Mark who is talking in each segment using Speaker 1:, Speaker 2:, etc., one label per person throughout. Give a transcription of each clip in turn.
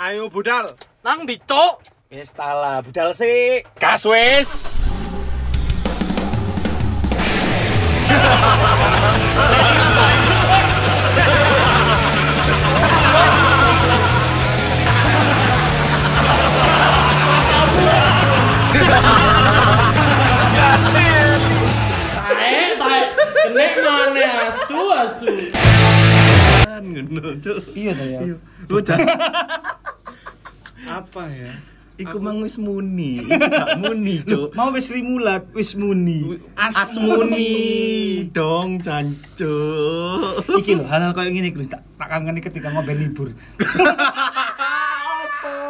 Speaker 1: Ayo budal.
Speaker 2: Nang ndi, Cuk?
Speaker 3: Wis tala, budal sik.
Speaker 4: Gas wis.
Speaker 1: Eh,
Speaker 5: Tae, tae. Kenek mana asu asu.
Speaker 6: ngono cuk
Speaker 3: Iya ta ya.
Speaker 6: lu cak
Speaker 1: Apa ya?
Speaker 6: iku mang wis muni iku gak muni cuk
Speaker 3: Mau wis rimulat, wis muni.
Speaker 6: asmuni dong cancuk
Speaker 3: Iki lho, hal-hal koyo ngene iku lho, tak tak kangeni ketika ngombe libur.
Speaker 6: opo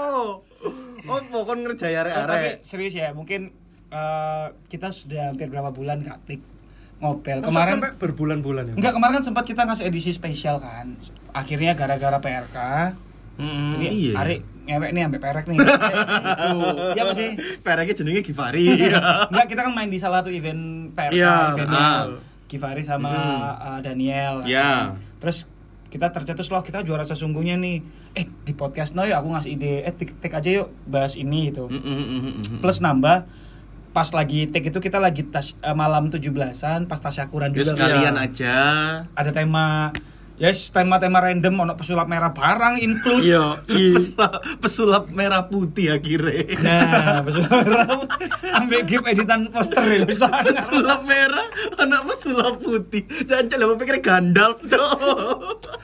Speaker 6: opo kon ngerjai
Speaker 3: Tapi
Speaker 6: arek-arek
Speaker 3: serius ya, mungkin eh, kita sudah hampir berapa bulan gak klik ngopel.
Speaker 1: Kemarin
Speaker 3: Kemarin
Speaker 1: sampai berbulan-bulan ya.
Speaker 3: Enggak, kemarin kan sempat kita ngasih edisi spesial kan. Akhirnya gara-gara PRK.
Speaker 1: Hmm,
Speaker 3: Jadi
Speaker 6: iya.
Speaker 3: Ari ngewek nih sampai perek nih. Itu. Iya apa sih?
Speaker 6: pereknya jenenge Givari
Speaker 3: Enggak, kita kan main di salah satu event PRK.
Speaker 1: Iya,
Speaker 3: eventnya
Speaker 6: ah.
Speaker 3: gitu kan. Givari sama uh, Daniel. kan.
Speaker 1: Iya,
Speaker 6: ya
Speaker 3: Terus kita tercetus loh kita juara sesungguhnya nih eh di podcast no yuk aku ngasih ide eh tik tik aja yuk bahas ini gitu plus nambah pas lagi take itu kita lagi tas, eh, malam 17-an pas tasyakuran
Speaker 6: Yus
Speaker 3: juga kan.
Speaker 6: kalian aja
Speaker 3: ada tema yes tema-tema random ono pesulap merah barang include
Speaker 1: Iya, iya.
Speaker 6: Pesul- pesulap merah putih akhirnya
Speaker 3: nah pesulap merah ambil gift editan poster ya bisa
Speaker 6: pesulap merah anak pesulap putih jangan coba pikir Gandalf cok
Speaker 3: ya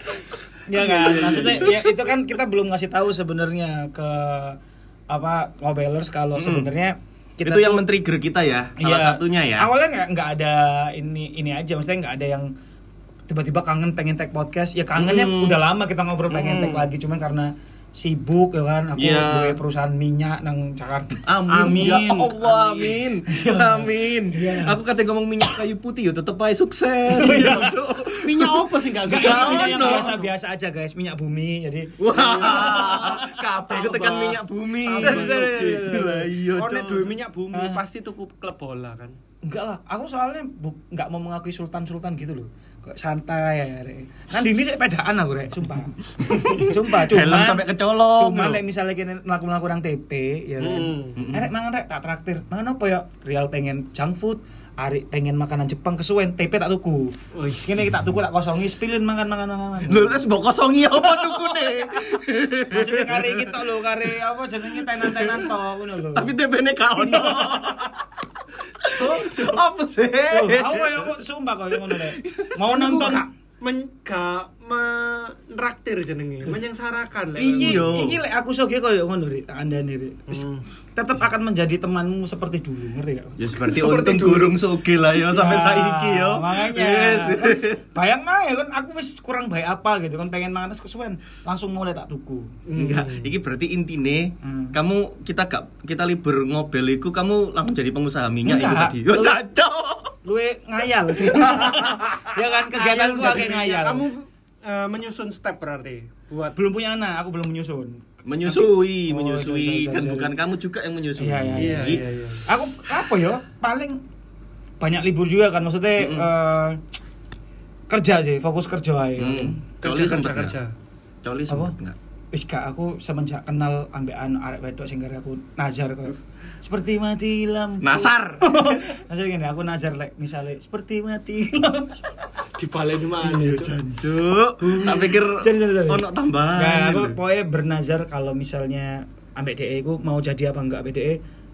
Speaker 6: Iya,
Speaker 3: kan maksudnya ya itu kan kita belum ngasih tahu sebenarnya ke apa ngobelers kalau sebenarnya kita
Speaker 6: itu yang
Speaker 3: tuh-
Speaker 6: men-trigger kita ya salah
Speaker 3: Iya.
Speaker 6: satunya ya
Speaker 3: awalnya nggak nggak ada ini ini aja maksudnya nggak ada yang tiba-tiba kangen pengen tag podcast ya kangennya
Speaker 6: Hmm.
Speaker 3: udah lama kita ngobrol pengen tag lagi cuman karena sibuk ya kan aku
Speaker 6: Iya.
Speaker 3: gue perusahaan minyak nang Jakarta
Speaker 6: Amin. Ya
Speaker 1: Amin.
Speaker 6: Allah, amin. Amin. Aku katanya ngomong minyak kayu putih ya tetep aja sukses. Iya, Cuk.
Speaker 2: Minyak opo sih gak
Speaker 3: Enggak,
Speaker 6: Gak
Speaker 3: ini minyak yang
Speaker 6: ono.
Speaker 3: biasa-biasa aja guys, minyak bumi. Jadi
Speaker 6: Wah, kabeh ketekan minyak bumi. Gila iya,
Speaker 1: Kone duwe
Speaker 6: Cuk.
Speaker 1: minyak bumi
Speaker 3: mm.
Speaker 1: pasti tuku klub bola kan.
Speaker 3: enggak eh, lah, aku soalnya bu- enggak mau mengakui sultan-sultan gitu loh. Kok santai ya, Rek. Kan Dini sih pedaan aku, Rek, sumpah. sumpah, cuman
Speaker 6: Helm sampai kecolong.
Speaker 3: Cuman
Speaker 6: loh.
Speaker 3: lek Oh, misalnya kene mlaku-mlaku nang TP ya kan. Eh, Rek mangan rek tak traktir. Mangan apa ya? Real pengen junk food. Ari pengen makanan Jepang kesuwen, TP tak tuku. Wis ngene iki tak tuku tak kosongi spilin mangan-mangan.
Speaker 6: Lho, terus mbok kosongi ya, apa dukune?
Speaker 3: Maksudnya kare iki tok lho, kare apa jenenge tenan-tenan tok ngono lho.
Speaker 6: Tapi TP-ne gak ono. Apa sih?
Speaker 3: Loh, Aku ya kok sumpah kok yang ngono Rek. Mau nonton
Speaker 1: men gak menraktir jenenge, menyengsarakan lah.
Speaker 3: Iya,
Speaker 6: Iya. Mm.
Speaker 3: iki lek aku soge koyo ngono Rek, tak andani Rek. Wis, Tetep akan menjadi temanmu seperti dulu, ngerti gak?
Speaker 6: Ya seperti untung gurung soge lah ya sampai
Speaker 3: Ya,
Speaker 6: saiki ya.
Speaker 3: Makanya.
Speaker 6: Yes.
Speaker 3: Terus, bayang nah ya kan aku wis kurang baik apa gitu kan pengen mangan terus kesuwen langsung mulai tak tuku.
Speaker 6: Enggak, iki berarti intine
Speaker 3: Hmm.
Speaker 6: kamu kita gak kita libur ngobel iku kamu langsung jadi pengusaha minyak itu
Speaker 3: Enggak.
Speaker 6: tadi. Yo cacok.
Speaker 3: Luwe ngayal sih. ya kan kegiatanku akeh ngayal.
Speaker 1: Kamu eh, menyusun step berarti buat
Speaker 3: belum punya anak, aku belum menyusun.
Speaker 6: Menyusui,
Speaker 3: Oh, sorry,
Speaker 6: menyusui
Speaker 3: sorry,
Speaker 6: dan
Speaker 3: sorry.
Speaker 6: bukan kamu juga yang menyusui.
Speaker 3: Iya, iya,
Speaker 1: Iya,
Speaker 6: Jadi,
Speaker 1: iya, iya.
Speaker 3: Aku apa ya? Paling banyak libur juga kan maksudnya eh, kerja sih, fokus kerja aja.
Speaker 6: hmm,
Speaker 1: kerja
Speaker 6: Coli
Speaker 1: kerja
Speaker 6: sempet nggak?
Speaker 1: kerja.
Speaker 6: Coli
Speaker 3: Apa?
Speaker 6: sempet enggak?
Speaker 3: Wis gak aku semenjak kenal ambek anu arek wedok sing gara aku najar kok. Seperti mati lampu.
Speaker 6: Nasar.
Speaker 3: Maksudnya gini, aku najar lek misalnya seperti mati lampu.
Speaker 1: Di balai ini mana?
Speaker 6: Iya, jancuk. Tak pikir
Speaker 3: Sorry, sorry, sorry.
Speaker 6: ono tambahan.
Speaker 3: Nah, aku pokoknya bernazar kalau misalnya ambek DE ku mau jadi apa enggak ambek DE,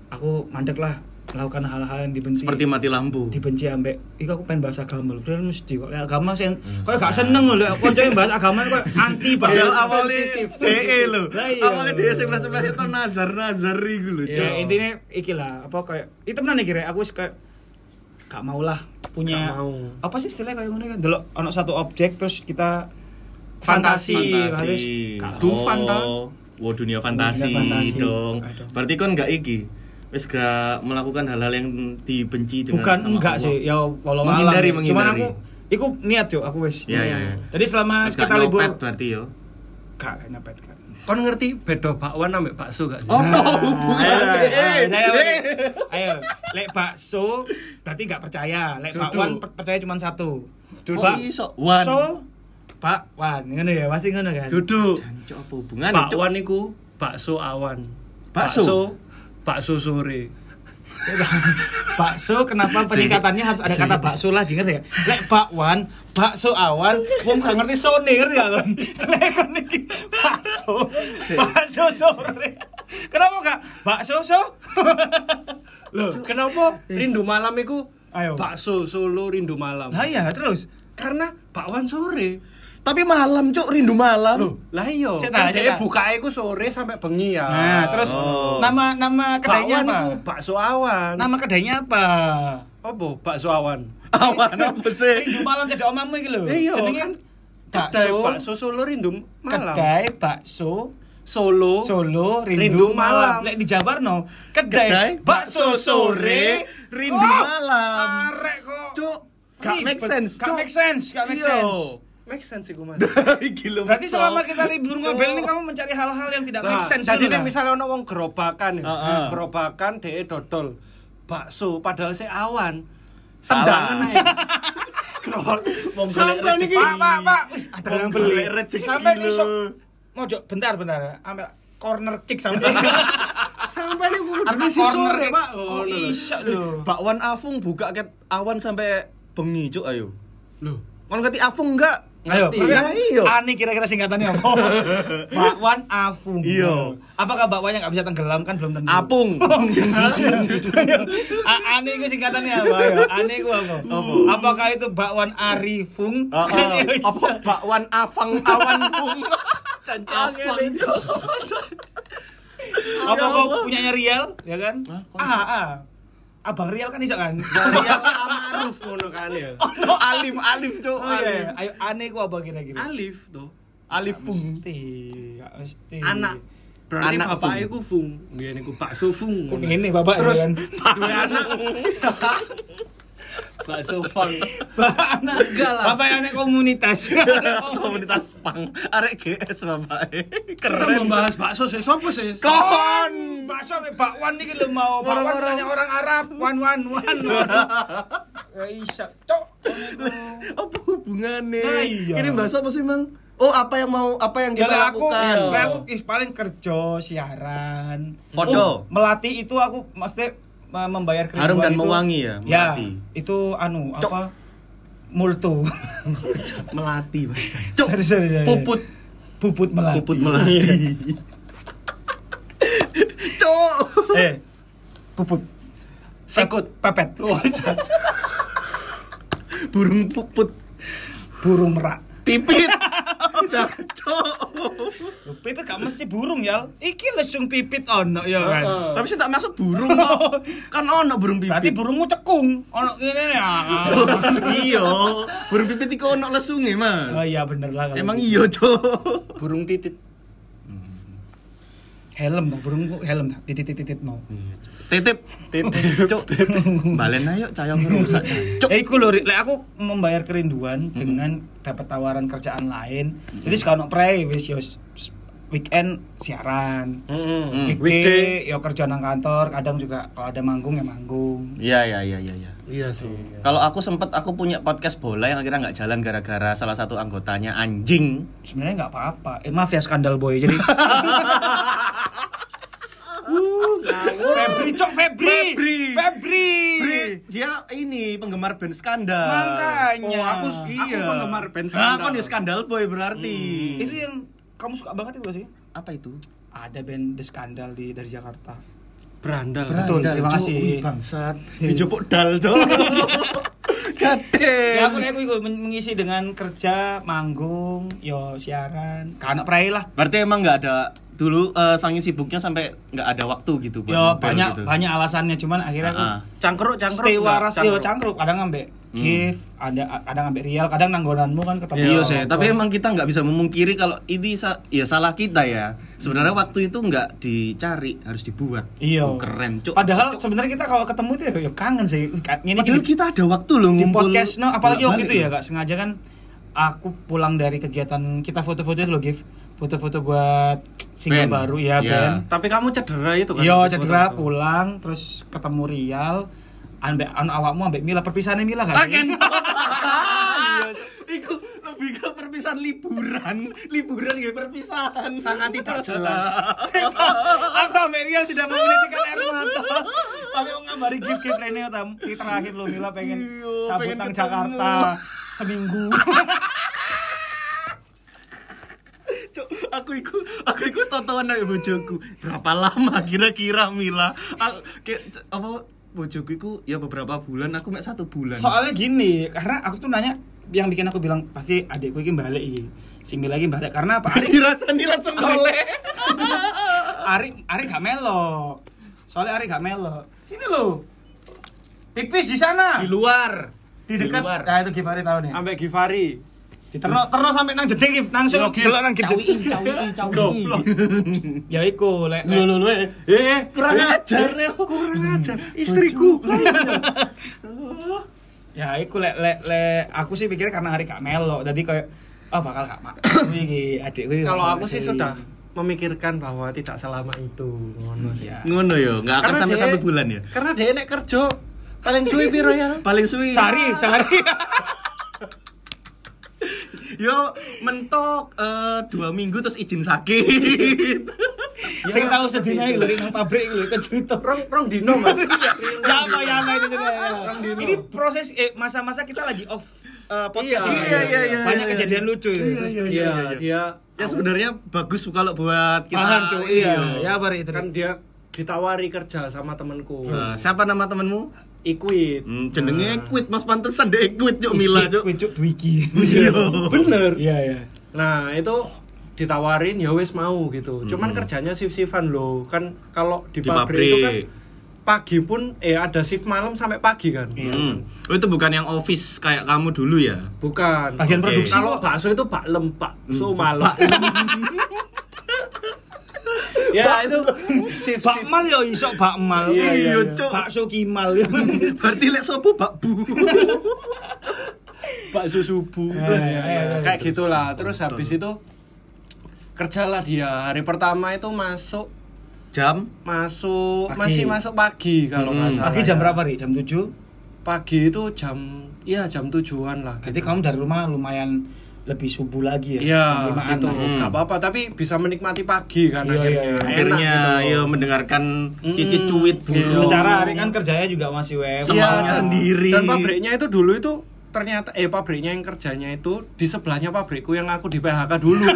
Speaker 3: aku mandek lah melakukan hal-hal yang dibenci.
Speaker 6: seperti mati lampu.
Speaker 3: dibenci ambek iku aku pengen bahas agama lho padahal mesti kok Lek agama sih kok gak seneng lho lek koncone bahas agama kok anti
Speaker 6: Hmm. Padahal
Speaker 3: banget.
Speaker 6: awalnya DE lho.
Speaker 3: Lah iya.
Speaker 6: Awalnya DE sing sebelah itu nazar-nazar iku lho,
Speaker 3: ya
Speaker 6: Cok.
Speaker 3: intinya iki lah apa kayak itu benar nih kira aku wis kayak gak mau lah punya
Speaker 1: Gak mau.
Speaker 3: apa sih istilahnya kayak ngono kan delok ono satu objek terus kita
Speaker 1: Fantasi.
Speaker 3: harus gak
Speaker 6: Fantasi.
Speaker 3: do fanta
Speaker 6: Wah Oh, dunia fantasi,
Speaker 3: Dunia fantasi.
Speaker 6: dong.
Speaker 3: Aduh.
Speaker 6: Berarti kan nggak iki. Wis gak melakukan hal-hal yang dibenci dengan
Speaker 3: bukan
Speaker 6: sama
Speaker 3: enggak
Speaker 6: Allah.
Speaker 3: sih ya walau malam
Speaker 6: Menghindari,
Speaker 3: ya. cuman
Speaker 6: menghindari.
Speaker 3: aku iku niat yo aku wis
Speaker 6: Iya, iya, iya.
Speaker 3: jadi selama
Speaker 6: Wis gak
Speaker 3: Nah, kita libur
Speaker 6: nyopet berarti yo.
Speaker 3: gak gak nyopet kan
Speaker 1: Kon ngerti beda bakwan ambek bakso gak
Speaker 3: Nah.
Speaker 1: sih?
Speaker 6: Oh, hubungannya.
Speaker 3: ayo, ayo,
Speaker 6: Eh, eh.
Speaker 3: ayo, lek bakso berarti nggak percaya, lek
Speaker 1: Jodoh.
Speaker 6: Oh,
Speaker 3: bakwan per- percaya cuma satu.
Speaker 6: Kok
Speaker 3: Bak-
Speaker 6: iso? Wan.
Speaker 3: So, Pak Wan, ngono ya, pasti ngono kan.
Speaker 1: Duduk.
Speaker 6: Jancok apa hubungan
Speaker 1: Pak Wan iku bakso awan.
Speaker 6: Bakso?
Speaker 1: Bakso sore.
Speaker 3: bakso kenapa peningkatannya harus ada kata bakso lagi ngerti ya? Lek bakwan, bakso awan, wong gak ngerti sone ngerti gak kon? Lek kon iki bakso, bakso sore. Kenapa gak bakso so?
Speaker 1: Loh, kenapa rindu malam iku
Speaker 3: Ayo.
Speaker 1: bakso Solo rindu malam?
Speaker 3: Lah iya terus.
Speaker 1: Karena bakwan sore.
Speaker 6: Tapi malam cok rindu malam.
Speaker 1: Lah iya,
Speaker 3: Sik,
Speaker 1: kan
Speaker 3: tak, sik,
Speaker 1: dia
Speaker 3: tak.
Speaker 1: bukae iku sore sampai bengi ya.
Speaker 3: Nah, terus
Speaker 6: Oh.
Speaker 3: nama nama
Speaker 1: Bakwan
Speaker 3: kedainya apa?
Speaker 1: iku bakso awan.
Speaker 3: Nama kedainya apa?
Speaker 1: Apa bakso awan?
Speaker 6: Awan apa
Speaker 3: Rindu
Speaker 6: sih?
Speaker 3: malam cedok omamu iki lho.
Speaker 1: Eh, iya,
Speaker 3: Jenenge
Speaker 1: kan Kedai
Speaker 3: bakso,
Speaker 1: bakso Solo rindu malam.
Speaker 3: kedai bakso
Speaker 1: Solo.
Speaker 3: Solo
Speaker 1: Rindu
Speaker 3: rindu,
Speaker 1: malam.
Speaker 3: malam. Lek di Jabarno, kedai,
Speaker 6: Kedai
Speaker 3: bakso sore
Speaker 6: rindu malam.
Speaker 3: Arek kok.
Speaker 6: Cok, gak
Speaker 3: Ribet.
Speaker 6: make sense,
Speaker 3: Gak
Speaker 6: cok.
Speaker 3: make sense, gak make sense.
Speaker 1: Make sense iku Mas.
Speaker 6: Gila.
Speaker 3: Berarti
Speaker 6: Cok.
Speaker 3: selama kita libur
Speaker 6: Cok.
Speaker 3: ngobel ini kamu mencari hal-hal yang tidak
Speaker 1: Nah,
Speaker 3: make sense.
Speaker 1: jadi
Speaker 3: gitu
Speaker 1: nek
Speaker 3: lah.
Speaker 1: misalnya ono wong gerobakan ya,
Speaker 6: Heeh.
Speaker 1: gerobakan dhek dodol bakso padahal sik awan.
Speaker 6: Salah.
Speaker 1: Tendangan ae. Gerobak.
Speaker 6: Wong
Speaker 1: Sampai
Speaker 6: golek
Speaker 1: niki.
Speaker 3: Pak, pak, pak. Wih, Ada
Speaker 6: Wong
Speaker 3: yang beli.
Speaker 6: golek rezeki
Speaker 3: Sampai
Speaker 6: lho.
Speaker 3: besok. Mojok bentar bentar. Ambil corner kick sampai.
Speaker 1: Sampai niku kudu
Speaker 3: Ambil
Speaker 1: diisi sore, Pak.
Speaker 3: Kok
Speaker 1: Ngono lho.
Speaker 3: iso lho.
Speaker 6: Bakwan Afung buka ket awan sampai bengi, cok ayo.
Speaker 1: Loh,
Speaker 6: Kon ngerti Afung enggak?
Speaker 3: Ayo,
Speaker 1: Ngerti.
Speaker 3: pergi.
Speaker 6: Lah, iya.
Speaker 3: Ani Ah, kira-kira singkatannya apa? Bakwan Afung.
Speaker 6: Iya.
Speaker 3: Apakah bakwannya nggak bisa tenggelam kan belum tentu.
Speaker 6: Apung.
Speaker 3: iya.
Speaker 6: Ah,
Speaker 3: A- Ani itu singkatannya apa? Ayo, Ani itu apa?
Speaker 6: Iya. Apa?
Speaker 3: Apakah itu bakwan Arifung?
Speaker 6: Ah, ah.
Speaker 3: Kan ya
Speaker 6: Apa
Speaker 3: bisa.
Speaker 6: bakwan afang awan pung.
Speaker 1: Afang.
Speaker 3: Apa
Speaker 1: Ya
Speaker 3: kau punyanya Rial? Ya kan? Ah, ah. Abang Rial kan iso kan?
Speaker 1: Maria ya Amaruf ngono kan ya.
Speaker 6: No, alif alif cok.
Speaker 3: Oh
Speaker 6: Alif.
Speaker 3: iya, Oh, ayo Ani ku apa kira-kira?
Speaker 1: Alif tuh.
Speaker 6: Alif pung.
Speaker 3: Mesti, nggak mesti.
Speaker 1: Anak. Berarti
Speaker 6: Anak
Speaker 1: bapak
Speaker 6: Fung.
Speaker 1: iku Fung, biyen iku bakso Fung. ngono.
Speaker 3: Ini bapak
Speaker 1: Terus
Speaker 3: ya kan?
Speaker 1: dua anak. bakso Fung.
Speaker 3: anak
Speaker 1: Enggak lah.
Speaker 3: Bapak anak komunitas. iya.
Speaker 6: Komunitas pang arek GS bapak.
Speaker 1: Kita
Speaker 6: Keren.
Speaker 1: membahas bakso sih, sopo sih?
Speaker 6: Kon.
Speaker 3: Bakso sampe bakwan iki lho mau. Bakwan
Speaker 6: Orang-orang.
Speaker 3: tanya orang Arab. Wan wan wan. Ya isa. Tok.
Speaker 6: Apa hubungannya?
Speaker 3: Nah, iya.
Speaker 6: Ini bahasa apa sih mang? Oh apa yang mau apa yang
Speaker 3: Ya
Speaker 6: kita
Speaker 3: lah aku,
Speaker 6: lakukan?
Speaker 3: lah aku is paling kerja siaran.
Speaker 6: Podo.
Speaker 3: Oh, melatih itu aku mesti eh, membayar kerinduan
Speaker 6: Harum dan
Speaker 3: itu-
Speaker 6: mewangi ya,
Speaker 3: Ya,
Speaker 6: melatih.
Speaker 3: itu anu
Speaker 6: Cok.
Speaker 3: apa? Multu.
Speaker 6: melati bahasa.
Speaker 3: Sorry, sorry, sorry.
Speaker 6: Puput. Iya.
Speaker 3: Puput melatih.
Speaker 6: Puput melati. Cok.
Speaker 3: Eh. Puput.
Speaker 1: Sikut.
Speaker 3: Pepet.
Speaker 6: Burung puput.
Speaker 3: Burung merak.
Speaker 6: Pipit. Cok.
Speaker 3: Loh, pipit gak mesti burung ya. Iki lesung pipit ono ya kan.
Speaker 1: Heeh.
Speaker 6: Tapi sih tak maksud burung kok. Kan ono burung
Speaker 3: Berarti
Speaker 6: pipit.
Speaker 3: burungmu cekung. Ono ngene ya.
Speaker 6: iya, burung pipit iku ono lesunge,
Speaker 3: Oh
Speaker 6: Mas.
Speaker 3: iya bener lah kalau
Speaker 6: Emang
Speaker 3: gitu.
Speaker 6: iya, Cok.
Speaker 1: Burung titit.
Speaker 3: helm dong burungku helm dah titit-titit mau.
Speaker 6: Titip. Titip, Cok. Balen ayo cayong rusak, Cok.
Speaker 3: Ya iku lho, Rik. lek aku membayar kerinduan dengan dapat tawaran kerjaan lain. Jadi sekarang prei wis yo s- s- weekend siaran.
Speaker 1: Heeh.
Speaker 3: Weekday yo kerja nang kantor, kadang juga kalau ada manggung ya manggung.
Speaker 6: Iya, iya, iya, iya, iya.
Speaker 1: Iya sih.
Speaker 6: Kalau aku sempet aku punya podcast bola yang akhirnya nggak jalan gara-gara salah satu anggotanya anjing.
Speaker 3: Sebenarnya nggak apa-apa. Eh maaf ya skandal boy. Jadi
Speaker 6: Uh,
Speaker 3: Febri, cok Febri.
Speaker 6: Febri.
Speaker 3: Febri.
Speaker 6: Dia ini penggemar band skandal.
Speaker 3: Makanya.
Speaker 1: Oh, aku
Speaker 6: Iya.
Speaker 1: Aku penggemar band
Speaker 6: Nah,
Speaker 1: skandal.
Speaker 6: kan ya skandal boy berarti. Eh,
Speaker 3: itu yang kamu suka banget itu gak sih?
Speaker 6: Apa itu?
Speaker 3: Ada band The Skandal di dari Jakarta.
Speaker 1: Berandal.
Speaker 3: Betul, terima
Speaker 6: Cok.
Speaker 3: kasih. Iya.
Speaker 6: Wih, bangsat. Dijopok dal, Cok. Gadeng.
Speaker 3: Ya aku aku ikut men- mengisi dengan kerja, manggung, yo siaran, kanak prai lah.
Speaker 6: Berarti emang nggak ada dulu eh, saking sibuknya sampai nggak ada waktu gitu buat
Speaker 3: Yo
Speaker 6: ngobel
Speaker 3: banyak
Speaker 6: gitu.
Speaker 3: banyak alasannya cuman akhirnya aku
Speaker 6: Ah, ah.
Speaker 1: Cangkruk, cangkruk.
Speaker 3: stay
Speaker 1: enggak?
Speaker 3: waras yo cangkruk kadang ngambek gift, ada kadang ngambek real, kadang nanggonanmu kan ketemu.
Speaker 6: Hmm. Iya
Speaker 3: sama
Speaker 6: sih,
Speaker 3: aku.
Speaker 6: tapi emang kita nggak bisa memungkiri kalau ini sa- ya salah kita ya. Sebenarnya waktu itu nggak dicari, harus dibuat.
Speaker 3: Iya.
Speaker 6: Oh, keren, Cuk.
Speaker 3: Padahal sebenarnya kita kalau ketemu itu ya kangen sih. Ini
Speaker 6: Padahal kita ada waktu loh
Speaker 3: di
Speaker 6: ngumpul.
Speaker 3: podcast no apalagi waktu
Speaker 6: bolak-balik
Speaker 3: itu ya gak sengaja kan aku pulang dari kegiatan kita foto-foto itu loh Gif foto-foto buat single
Speaker 6: Band.
Speaker 3: baru ya
Speaker 6: Iya.
Speaker 3: Ben
Speaker 1: Tapi kamu cedera itu kan?
Speaker 3: yo
Speaker 1: waktu
Speaker 3: Iya, cedera
Speaker 1: itu.
Speaker 3: pulang terus ketemu Rial anu ambek an awakmu ambek Mila perpisahannya Mila kan
Speaker 6: Lah, kentot. Iku Iya, lebih ke perpisahan tulisan liburan, liburan ya perpisahan.
Speaker 1: sangat tidak jelas
Speaker 3: Aku Ameria sudah menitikan air mata. Sampai mau ngambari gift-gift Rene Tam. Di terakhir lo Mila pengen
Speaker 6: Iya, pengen
Speaker 3: cabutan
Speaker 6: ketemu.
Speaker 3: Jakarta seminggu.
Speaker 6: Cuk, aku iku aku iku tontonan dari bojoku. Berapa lama kira-kira Mila? Aku, ke- c- apa bojoku iku ya beberapa bulan, aku mek satu bulan.
Speaker 3: Soalnya gini, karena aku tuh nanya yang bikin aku bilang pasti adikku ini balik iki. Si Mila ini balik karena apa? Ari
Speaker 6: dirasani langsung oleh.
Speaker 3: Ari, Ari gak melo. Soalnya Ari gak melo. Sini lo. Pipis di sana.
Speaker 6: Di luar.
Speaker 3: Di dekat.
Speaker 6: luar.
Speaker 3: Nah, itu Givari tahun ya.
Speaker 1: ambek Givari
Speaker 3: Di terno terno sampai nang jeding Gif, nang sing delok nang jeding.
Speaker 6: cawiin, cawiin.
Speaker 3: Ya iku lek.
Speaker 6: Lu lu lu. eh, Eh, kurang ajar, eh, kurang ajar. Istriku.
Speaker 3: Ya iku lek lek lek aku sih pikirnya karena Ari gak melo. Jadi kayak ah bakal gak mak. Iki adikku iki
Speaker 1: kalau
Speaker 3: bakal
Speaker 1: aku sih
Speaker 3: sih.
Speaker 1: sudah memikirkan bahwa tidak selama itu ngono sih.
Speaker 3: Ya.
Speaker 6: Ngono yo, nggak akan
Speaker 1: Karena
Speaker 6: sampai
Speaker 1: dia-
Speaker 6: satu bulan ya.
Speaker 1: karena dia nek kerja paling suwi piro ya
Speaker 6: Paling suwi.
Speaker 3: Sehari, sehari.
Speaker 6: Yo mentok eh, dua minggu terus izin sakit.
Speaker 3: Sing tahu sedina iki lho nang pabrik iki lho kejutan.
Speaker 1: rong rong dino mas
Speaker 3: Ya apa ya apa itu sudah. Ini proses eh masa-masa kita lagi off eh,
Speaker 1: Iya,
Speaker 3: podcast. ini.
Speaker 1: iya,
Speaker 6: iya, iya,
Speaker 3: Banyak
Speaker 6: iya.
Speaker 3: kejadian lucu ya. ini. Terus-
Speaker 1: iya dia
Speaker 6: ya sebenarnya bagus kalau buat kita.
Speaker 3: Paham cuy. Iya. Ya apa itu?
Speaker 1: kan dia ditawari kerja sama temenku
Speaker 6: Eh, siapa nama temenmu?
Speaker 1: Iquid
Speaker 6: Hmm, jenenge Equid, Mas pantesan deh Equid cuk Mila cuk.
Speaker 3: Kucuk Dwiki.
Speaker 6: Iya.
Speaker 1: bener
Speaker 3: Iya iya.
Speaker 1: Nah itu ditawarin ya wes mau gitu. Cuman kerjanya shift shiftan loh. Kan kalau di,
Speaker 6: Hmm. Di
Speaker 1: pabrik, itu kan
Speaker 6: pabrik.
Speaker 1: pagi pun eh ada shift malam sampai pagi kan.
Speaker 6: Hmm. Oh, itu bukan yang office kayak kamu dulu ya?
Speaker 1: Bukan.
Speaker 3: Bagian
Speaker 6: Oke.
Speaker 3: produksi
Speaker 1: Kalau
Speaker 3: kok. Hmm.
Speaker 1: bakso itu baklem, bakso malam. ya itu shift shift.
Speaker 3: Bakmal yo iso bakmal.
Speaker 1: Iya, iya, ya.
Speaker 6: iya.
Speaker 3: Bakso kimal yo.
Speaker 6: Berarti lek sopo bakbu.
Speaker 1: bakso subuh
Speaker 3: Iya, iya, iya.
Speaker 1: kayak gitulah terus habis itu kerjalah dia hari pertama itu masuk
Speaker 6: Jam
Speaker 1: masuk
Speaker 3: Pagi. Hmm.
Speaker 1: masih masuk pagi kalau nggak salah
Speaker 3: Pagi jam
Speaker 1: ya.
Speaker 3: berapa, Ri? Jam 7.
Speaker 1: pagi itu jam ya jam tujuan lah
Speaker 3: Berarti
Speaker 1: gitu.
Speaker 3: kamu dari rumah lumayan lebih subuh lagi ya.
Speaker 1: Iya,
Speaker 3: Jam limaan
Speaker 1: gitu.
Speaker 3: lah.
Speaker 1: Nggak apa-apa, tapi bisa menikmati pagi kan
Speaker 3: Iya,
Speaker 1: akhirnya.
Speaker 3: iya, iya.
Speaker 1: Enak
Speaker 6: akhirnya
Speaker 1: gitu.
Speaker 6: yo mendengarkan
Speaker 1: Mm-mm.
Speaker 6: cicit cuit
Speaker 1: Iya.
Speaker 6: burung.
Speaker 3: Secara hari kan kerjanya juga masih WFH.
Speaker 6: semaunya
Speaker 1: Iya.
Speaker 6: sendiri.
Speaker 1: Dan pabriknya itu dulu itu ternyata eh pabriknya yang kerjanya itu di sebelahnya pabrikku yang aku di PHK dulu.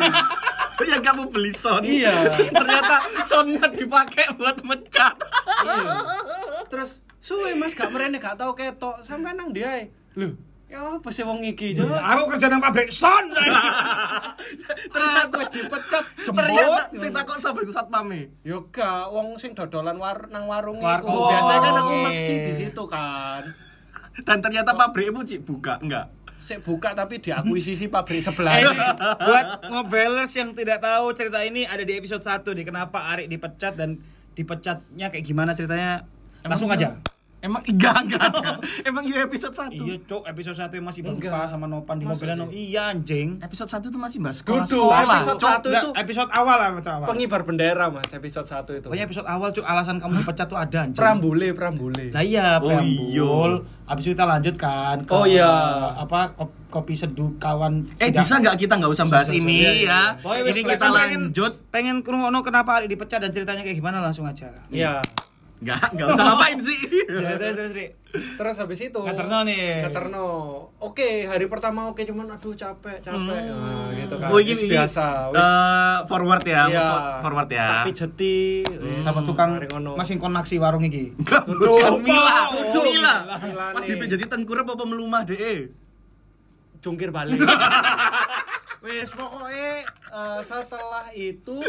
Speaker 6: yang kamu beli son.
Speaker 1: Iya.
Speaker 6: Ternyata sonnya dipakai buat mecat.
Speaker 1: Iya. Terus suwe Mas gak merene gak tau ketok sampai nang dia. Loh, ya apa sih wong iki?
Speaker 3: Iya, Aku kerja nang pabrik
Speaker 1: Nah,
Speaker 3: son.
Speaker 6: ternyata
Speaker 1: Terus dipecat
Speaker 6: ternyata
Speaker 1: jemput.
Speaker 6: sing takon sampe iku satpame.
Speaker 1: Yo Ya gak, wong sing dodolan war nang warung iku.
Speaker 3: Warkop.
Speaker 1: Biasanya kan aku
Speaker 3: Oke.
Speaker 1: maksi di situ kan.
Speaker 6: Dan ternyata pabrikmu cik buka enggak?
Speaker 1: Sik buka tapi diakui sisi pabrik sebelah.
Speaker 3: Eh, ini buat ngebelers yang tidak tahu cerita ini ada di episode 1 di kenapa Ari dipecat dan dipecatnya kayak gimana ceritanya langsung
Speaker 1: iya?
Speaker 3: aja
Speaker 6: Emang enggak enggak ada. Emang yo episode 1.
Speaker 3: iya cok episode 1 yang masih
Speaker 1: Enggak.
Speaker 3: berempat sama Nopan di
Speaker 1: Masa
Speaker 3: mobilan
Speaker 1: sih?
Speaker 3: oh, iya anjing
Speaker 6: Episode 1 tuh masih bahas sekolah.
Speaker 1: Duduk,
Speaker 6: sekolah.
Speaker 1: episode
Speaker 6: Cok.
Speaker 1: satu itu-
Speaker 3: Nggak, episode awal lah episode awal
Speaker 1: Pengibar bendera Mas episode 1 itu.
Speaker 3: pokoknya Oh iya, episode awal cok alasan kamu dipecat tuh ada anjing
Speaker 1: Prambule, prambule.
Speaker 3: lah iya
Speaker 6: Oh,
Speaker 3: preambul abis itu kita lanjut kan ke,
Speaker 1: Oh, iya.
Speaker 3: apa kop- kopi seduh kawan
Speaker 6: Eh
Speaker 3: tidak-
Speaker 6: bisa nggak kita nggak usah
Speaker 1: Iya,
Speaker 6: bahas ini ya?
Speaker 3: Pokoknya wes,
Speaker 6: Ini
Speaker 3: wes,
Speaker 6: kita
Speaker 3: pengen-
Speaker 6: lanjut.
Speaker 3: pengen kerungono kenapa Ari dipecat dan ceritanya kayak gimana langsung aja
Speaker 1: Iya.
Speaker 6: Enggak, enggak usah ngapain sih.
Speaker 3: ya terus terus Ri.
Speaker 1: Terus habis itu
Speaker 3: Ngeterno nih.
Speaker 1: Ngeterno. Oke, hari pertama oke cuman aduh capek, capek. Nah, gitu kan.
Speaker 6: Oh, ini,
Speaker 1: Wis
Speaker 6: ini
Speaker 1: biasa. Wis
Speaker 6: eh, forward ya,
Speaker 1: Iya.
Speaker 6: forward ya.
Speaker 1: Tapi jeti. wis.
Speaker 3: sama tukang
Speaker 1: Mari ngono.
Speaker 3: masing konaksi warung iki.
Speaker 6: Enggak,
Speaker 1: Duduk.
Speaker 6: bukan Mila.
Speaker 1: Duduk.
Speaker 6: Mila.
Speaker 1: Mila
Speaker 6: Pas
Speaker 1: nih.
Speaker 6: dipijati tengkurap apa melumah Eh, deh.
Speaker 1: jungkir balik. Wis pokoknya eh, setelah itu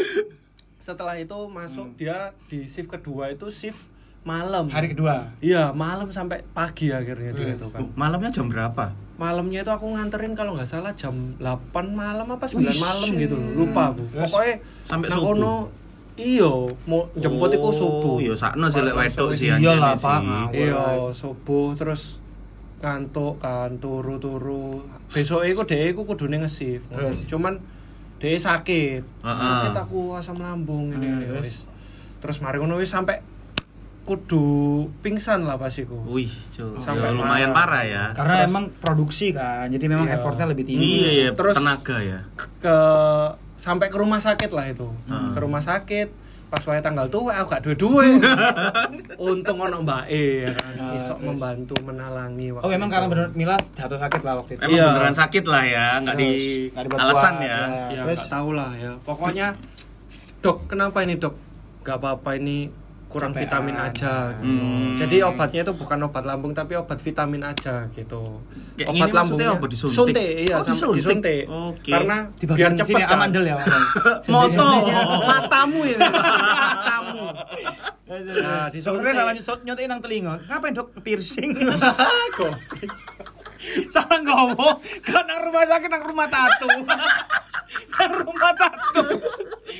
Speaker 1: setelah itu
Speaker 6: Hmm.
Speaker 1: masuk dia di shift kedua itu shift malam.
Speaker 3: Hari kedua.
Speaker 1: Iya, malam sampai pagi akhirnya dia itu kan.
Speaker 6: Oh, malamnya jam berapa?
Speaker 1: Malamnya itu aku nganterin kalau nggak salah jam 8 malam apa 9
Speaker 6: Wih,
Speaker 1: malam
Speaker 6: shit.
Speaker 1: gitu. Lupa aku.
Speaker 3: Terus?
Speaker 1: Pokoknya
Speaker 6: Sampai
Speaker 1: nang
Speaker 6: subuh.
Speaker 1: kono, Iya, mau jemput iku subuh.
Speaker 6: Oh, ya sakno sih lek wedok sih
Speaker 3: Iya
Speaker 6: anjene
Speaker 3: lah,
Speaker 6: sih.
Speaker 3: Pak.
Speaker 1: Iya, subuh terus ngantuk kan turu-turu. Besok iku dhek iku kudune nge-shift.
Speaker 3: Terus?
Speaker 1: Cuman dhek sakit.
Speaker 6: Heeh.
Speaker 1: Sakit aku asam lambung ini ya,
Speaker 3: terus?
Speaker 1: wis. Terus mari ngono wis sampai kudu pingsan lah pas iku.
Speaker 6: Wih, Cuk.
Speaker 1: Sampai
Speaker 6: Ya, lumayan parah ya.
Speaker 3: Karena emang produksi kan, jadi memang effortnya lebih tinggi.
Speaker 6: Iya, iya,
Speaker 1: Terus-
Speaker 6: tenaga ya.
Speaker 1: ke sampai ke rumah sakit lah itu ke rumah sakit pas wae tanggal tuh aku gak duwe-duwe untung ono mbak E ya kan iso membantu menalangi waktu
Speaker 3: Oh emang
Speaker 1: itu.
Speaker 3: karena benar Mila jatuh sakit lah waktu itu.
Speaker 6: Emang
Speaker 1: Iya.
Speaker 6: beneran sakit lah ya, nggak di
Speaker 3: Terus, nggak dibuat
Speaker 6: alasan
Speaker 3: buat,
Speaker 6: ya.
Speaker 3: ya.
Speaker 1: ya
Speaker 3: Terus?
Speaker 1: gak tau lah ya pokoknya dok kenapa ini dok gak apa-apa ini kurang
Speaker 3: Capean.
Speaker 1: vitamin aja gitu.
Speaker 6: Hmm.
Speaker 1: jadi obatnya itu bukan obat lambung tapi obat vitamin aja gitu
Speaker 6: Kayak gini maksudnya obat disuntik?
Speaker 1: suntik iya
Speaker 6: Oh,
Speaker 1: sama-
Speaker 6: disuntik.
Speaker 1: disuntik.
Speaker 6: Oke.
Speaker 1: karena
Speaker 3: Di
Speaker 1: biar
Speaker 3: bagian
Speaker 1: cepet
Speaker 3: sini
Speaker 1: kan.
Speaker 3: amandel ya.
Speaker 6: Moto.
Speaker 1: matamu ya matamu Nah,
Speaker 3: Nah,
Speaker 1: disuntik.
Speaker 3: Sebenarnya salah nyusut nyontek nang telinga. Ngapain dok piercing?
Speaker 1: Kok.
Speaker 3: salah ngomong. Kan nang rumah sakit nang rumah tato. nang rumah tato.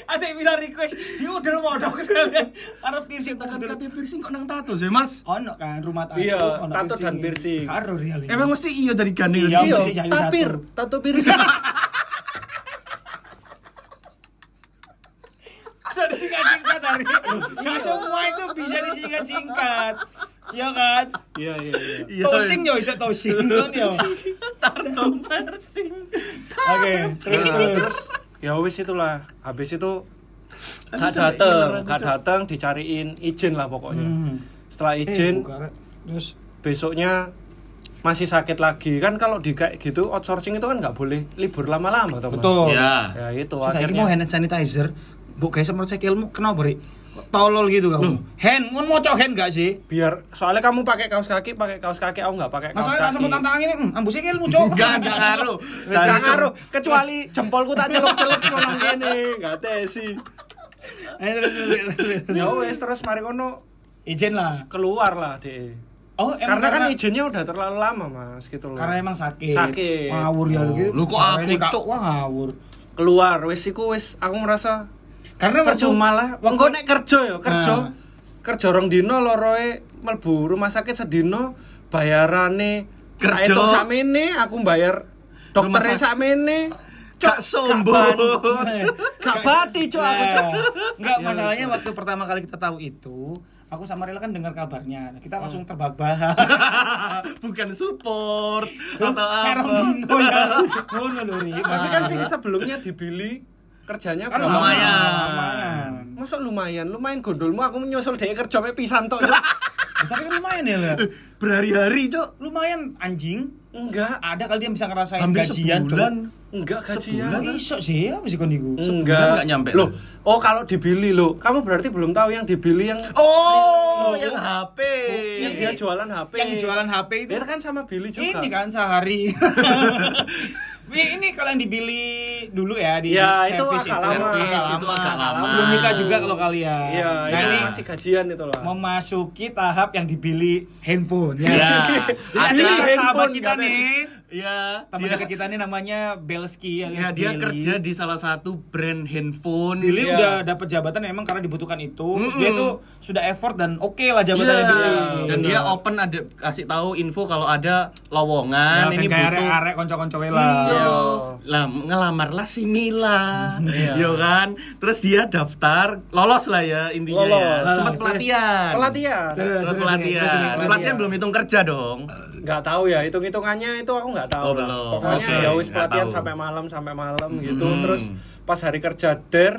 Speaker 3: Ada yang bilang request, dia udah mau dok sekalian. Arep piercing
Speaker 6: Tekan
Speaker 3: udah.
Speaker 6: kata piercing Kan kok nang tato sih, Mas?
Speaker 3: Ono kan rumah tato.
Speaker 1: Iya,
Speaker 3: ono
Speaker 1: tato dan piercing.
Speaker 3: Karo real. ini.
Speaker 6: Emang mesti iya dari gane
Speaker 3: Iya.
Speaker 6: Iya.
Speaker 1: Iya,
Speaker 3: mesti jadi
Speaker 1: tapir,
Speaker 3: satu.
Speaker 1: tato piercing.
Speaker 3: ada disingkat-singkat hari.
Speaker 1: Iya.
Speaker 3: Gak semua itu bisa disingkat-singkat. Iya kan?
Speaker 1: Iya, iya, iya.
Speaker 6: Iya.
Speaker 3: Tosing yo iso tosing kan yo.
Speaker 6: Tato piercing.
Speaker 3: Oke,
Speaker 1: Nah,
Speaker 3: terus terus.
Speaker 1: terus ya wis itulah. Habis itu gak
Speaker 3: Iya,
Speaker 6: cari
Speaker 1: dateng,
Speaker 6: beneran,
Speaker 1: gak
Speaker 6: Cuk.
Speaker 1: dateng dicariin izin lah pokoknya.
Speaker 3: Hmm.
Speaker 1: Setelah izin,
Speaker 3: terus
Speaker 1: besoknya masih sakit lagi kan kalau di kayak gitu outsourcing itu kan nggak boleh libur lama-lama toh Mas.
Speaker 3: betul.
Speaker 6: Iya.
Speaker 1: ya itu
Speaker 3: Sudah ini
Speaker 1: akhirnya
Speaker 3: mau hand sanitizer. Bu guys menurut saya ilmu kenapa Ri? Tolol gitu kamu. Hand, mau mocok hand gak sih?
Speaker 1: biar soalnya kamu pakai kaos kaki pakai kaos kaki aku nggak pakai kaos
Speaker 3: Masalahnya tak
Speaker 1: kaki
Speaker 3: sempat tantangan ini, hmm, ambusnya ilmu cok.
Speaker 6: Enggak, enggak ngaruh.
Speaker 1: Wis gak
Speaker 6: Jancuk.
Speaker 1: ngaruh kecuali jempolku tak celup-celup ngono ngene nggak tesi
Speaker 3: Eh, terus, terus, terus.
Speaker 1: ya wis terus mari kono
Speaker 3: Izin lah.
Speaker 1: keluar lah deh
Speaker 3: Oh,
Speaker 1: karena, kan izinnya udah terlalu lama mas gitu loh
Speaker 3: karena emang sakit.
Speaker 1: Sakit.
Speaker 3: Ngawur ya lu gitu.
Speaker 6: Lu kok
Speaker 3: Karena
Speaker 6: aku,
Speaker 3: ini, Kak,
Speaker 6: Cok?
Speaker 3: Wah, ngawur.
Speaker 1: keluar wis iku wis aku merasa
Speaker 3: Karena waktu-
Speaker 1: percuma lah wong kok nek kerja ya kerja
Speaker 3: Nah.
Speaker 1: kerja rong dino loroe melbu rumah sakit sedino bayarane
Speaker 6: Kerja.
Speaker 1: itu sakmene aku bayar
Speaker 6: Rumah
Speaker 1: dokternya
Speaker 6: sakit.
Speaker 1: sakmene
Speaker 6: Gak sombong.
Speaker 3: Eh,
Speaker 1: gak bati cok aku Cok.
Speaker 3: Nah, enggak
Speaker 6: Iya,
Speaker 3: masalahnya waktu pertama kali kita tahu itu, aku sama Rela kan dengar kabarnya. Nah,
Speaker 6: Hmm.
Speaker 3: Kita langsung terbahak-bahak.
Speaker 6: Bukan support
Speaker 3: Duh,
Speaker 6: atau apa.
Speaker 3: Merong dino ya. Ngono lho, Ri.
Speaker 1: Pasti kan sing sebelumnya dibili kerjanya
Speaker 3: Kan
Speaker 1: berapa?
Speaker 6: Ah, lumayan.
Speaker 3: lumayan.
Speaker 1: Masuk lumayan, lumayan gondolmu aku nyusul dhek kerja mek pisan tok. Cuk.
Speaker 3: Ya, Tapi kan lumayan ya, Le.
Speaker 6: Berhari-hari, Cok.
Speaker 3: Lumayan anjing.
Speaker 1: Enggak,
Speaker 3: Ada kali dia bisa ngerasain
Speaker 6: Hampir sebulan.
Speaker 3: gajian
Speaker 6: Iya, kan? Hmm.
Speaker 1: enggak
Speaker 3: Enggak
Speaker 1: gajian.
Speaker 3: iso sih, apa sih kon iku?
Speaker 1: Enggak.
Speaker 6: nggak nyampe.
Speaker 1: Loh, oh kalau dibili lo. Kamu berarti belum tahu yang dibili yang
Speaker 6: Oh, yang HP.
Speaker 1: yang dia jualan HP.
Speaker 3: iya, Yang jualan HP itu
Speaker 6: Iya,
Speaker 1: Dia kan sama Billy juga.
Speaker 3: ini kan sehari. ini kalau yang dibeli dulu ya di
Speaker 1: Ya, itu
Speaker 3: servis
Speaker 1: agak lama.
Speaker 6: Servis itu agak lama.
Speaker 3: Belum nikah juga kalau kalian.
Speaker 1: Iya,
Speaker 3: Nah,
Speaker 1: ini
Speaker 3: ini
Speaker 1: masih gajian itu lah.
Speaker 3: memasuki tahap yang dibeli handphone ya.
Speaker 6: Ya. Ada
Speaker 3: Jadi ada sahabat
Speaker 1: handphone,
Speaker 3: kita
Speaker 1: ada-
Speaker 3: nih,
Speaker 6: Iya,
Speaker 3: teman
Speaker 6: dia-
Speaker 3: dekat kita nih namanya Belski alias
Speaker 6: Ya dia
Speaker 3: Billy.
Speaker 6: kerja di salah satu brand handphone.
Speaker 3: Billy
Speaker 1: Iya.
Speaker 3: udah dapat jabatan yang emang karena dibutuhkan itu. Terus
Speaker 6: Mm-mm.
Speaker 3: dia tuh sudah effort dan oke lah
Speaker 6: Iya.
Speaker 3: jabatannya Billy.
Speaker 6: Dan dia open ada kasih tahu info kalau ada
Speaker 3: Ya,
Speaker 6: lowongan ini butuh.
Speaker 3: arek konco-konco we lah.
Speaker 6: Iya. Lah ngelamarlah si Mila.
Speaker 1: Iya.
Speaker 6: Yo kan. Terus dia daftar, lolos lah ya intinya
Speaker 1: Lolos.
Speaker 6: ya.
Speaker 1: Lolos.
Speaker 6: Sempat
Speaker 3: Terus-
Speaker 6: pelatihan.
Speaker 1: Pelatihan.
Speaker 3: Terus-
Speaker 6: Sempat
Speaker 3: terus- terus- terus-
Speaker 6: pelatihan.
Speaker 3: terus-
Speaker 6: Pelatihan belum hitung kerja dong.
Speaker 1: Enggak tahu ya, hitung-hitungannya itu aku enggak tahu.
Speaker 6: Oh,
Speaker 1: lah.
Speaker 6: belum.
Speaker 1: Pokoknya
Speaker 6: Oke,
Speaker 1: ya wis
Speaker 6: nggak
Speaker 1: pelatihan
Speaker 6: tahu.
Speaker 1: sampai malam sampai malam gitu.
Speaker 6: Hmm.
Speaker 1: Terus pas hari kerja der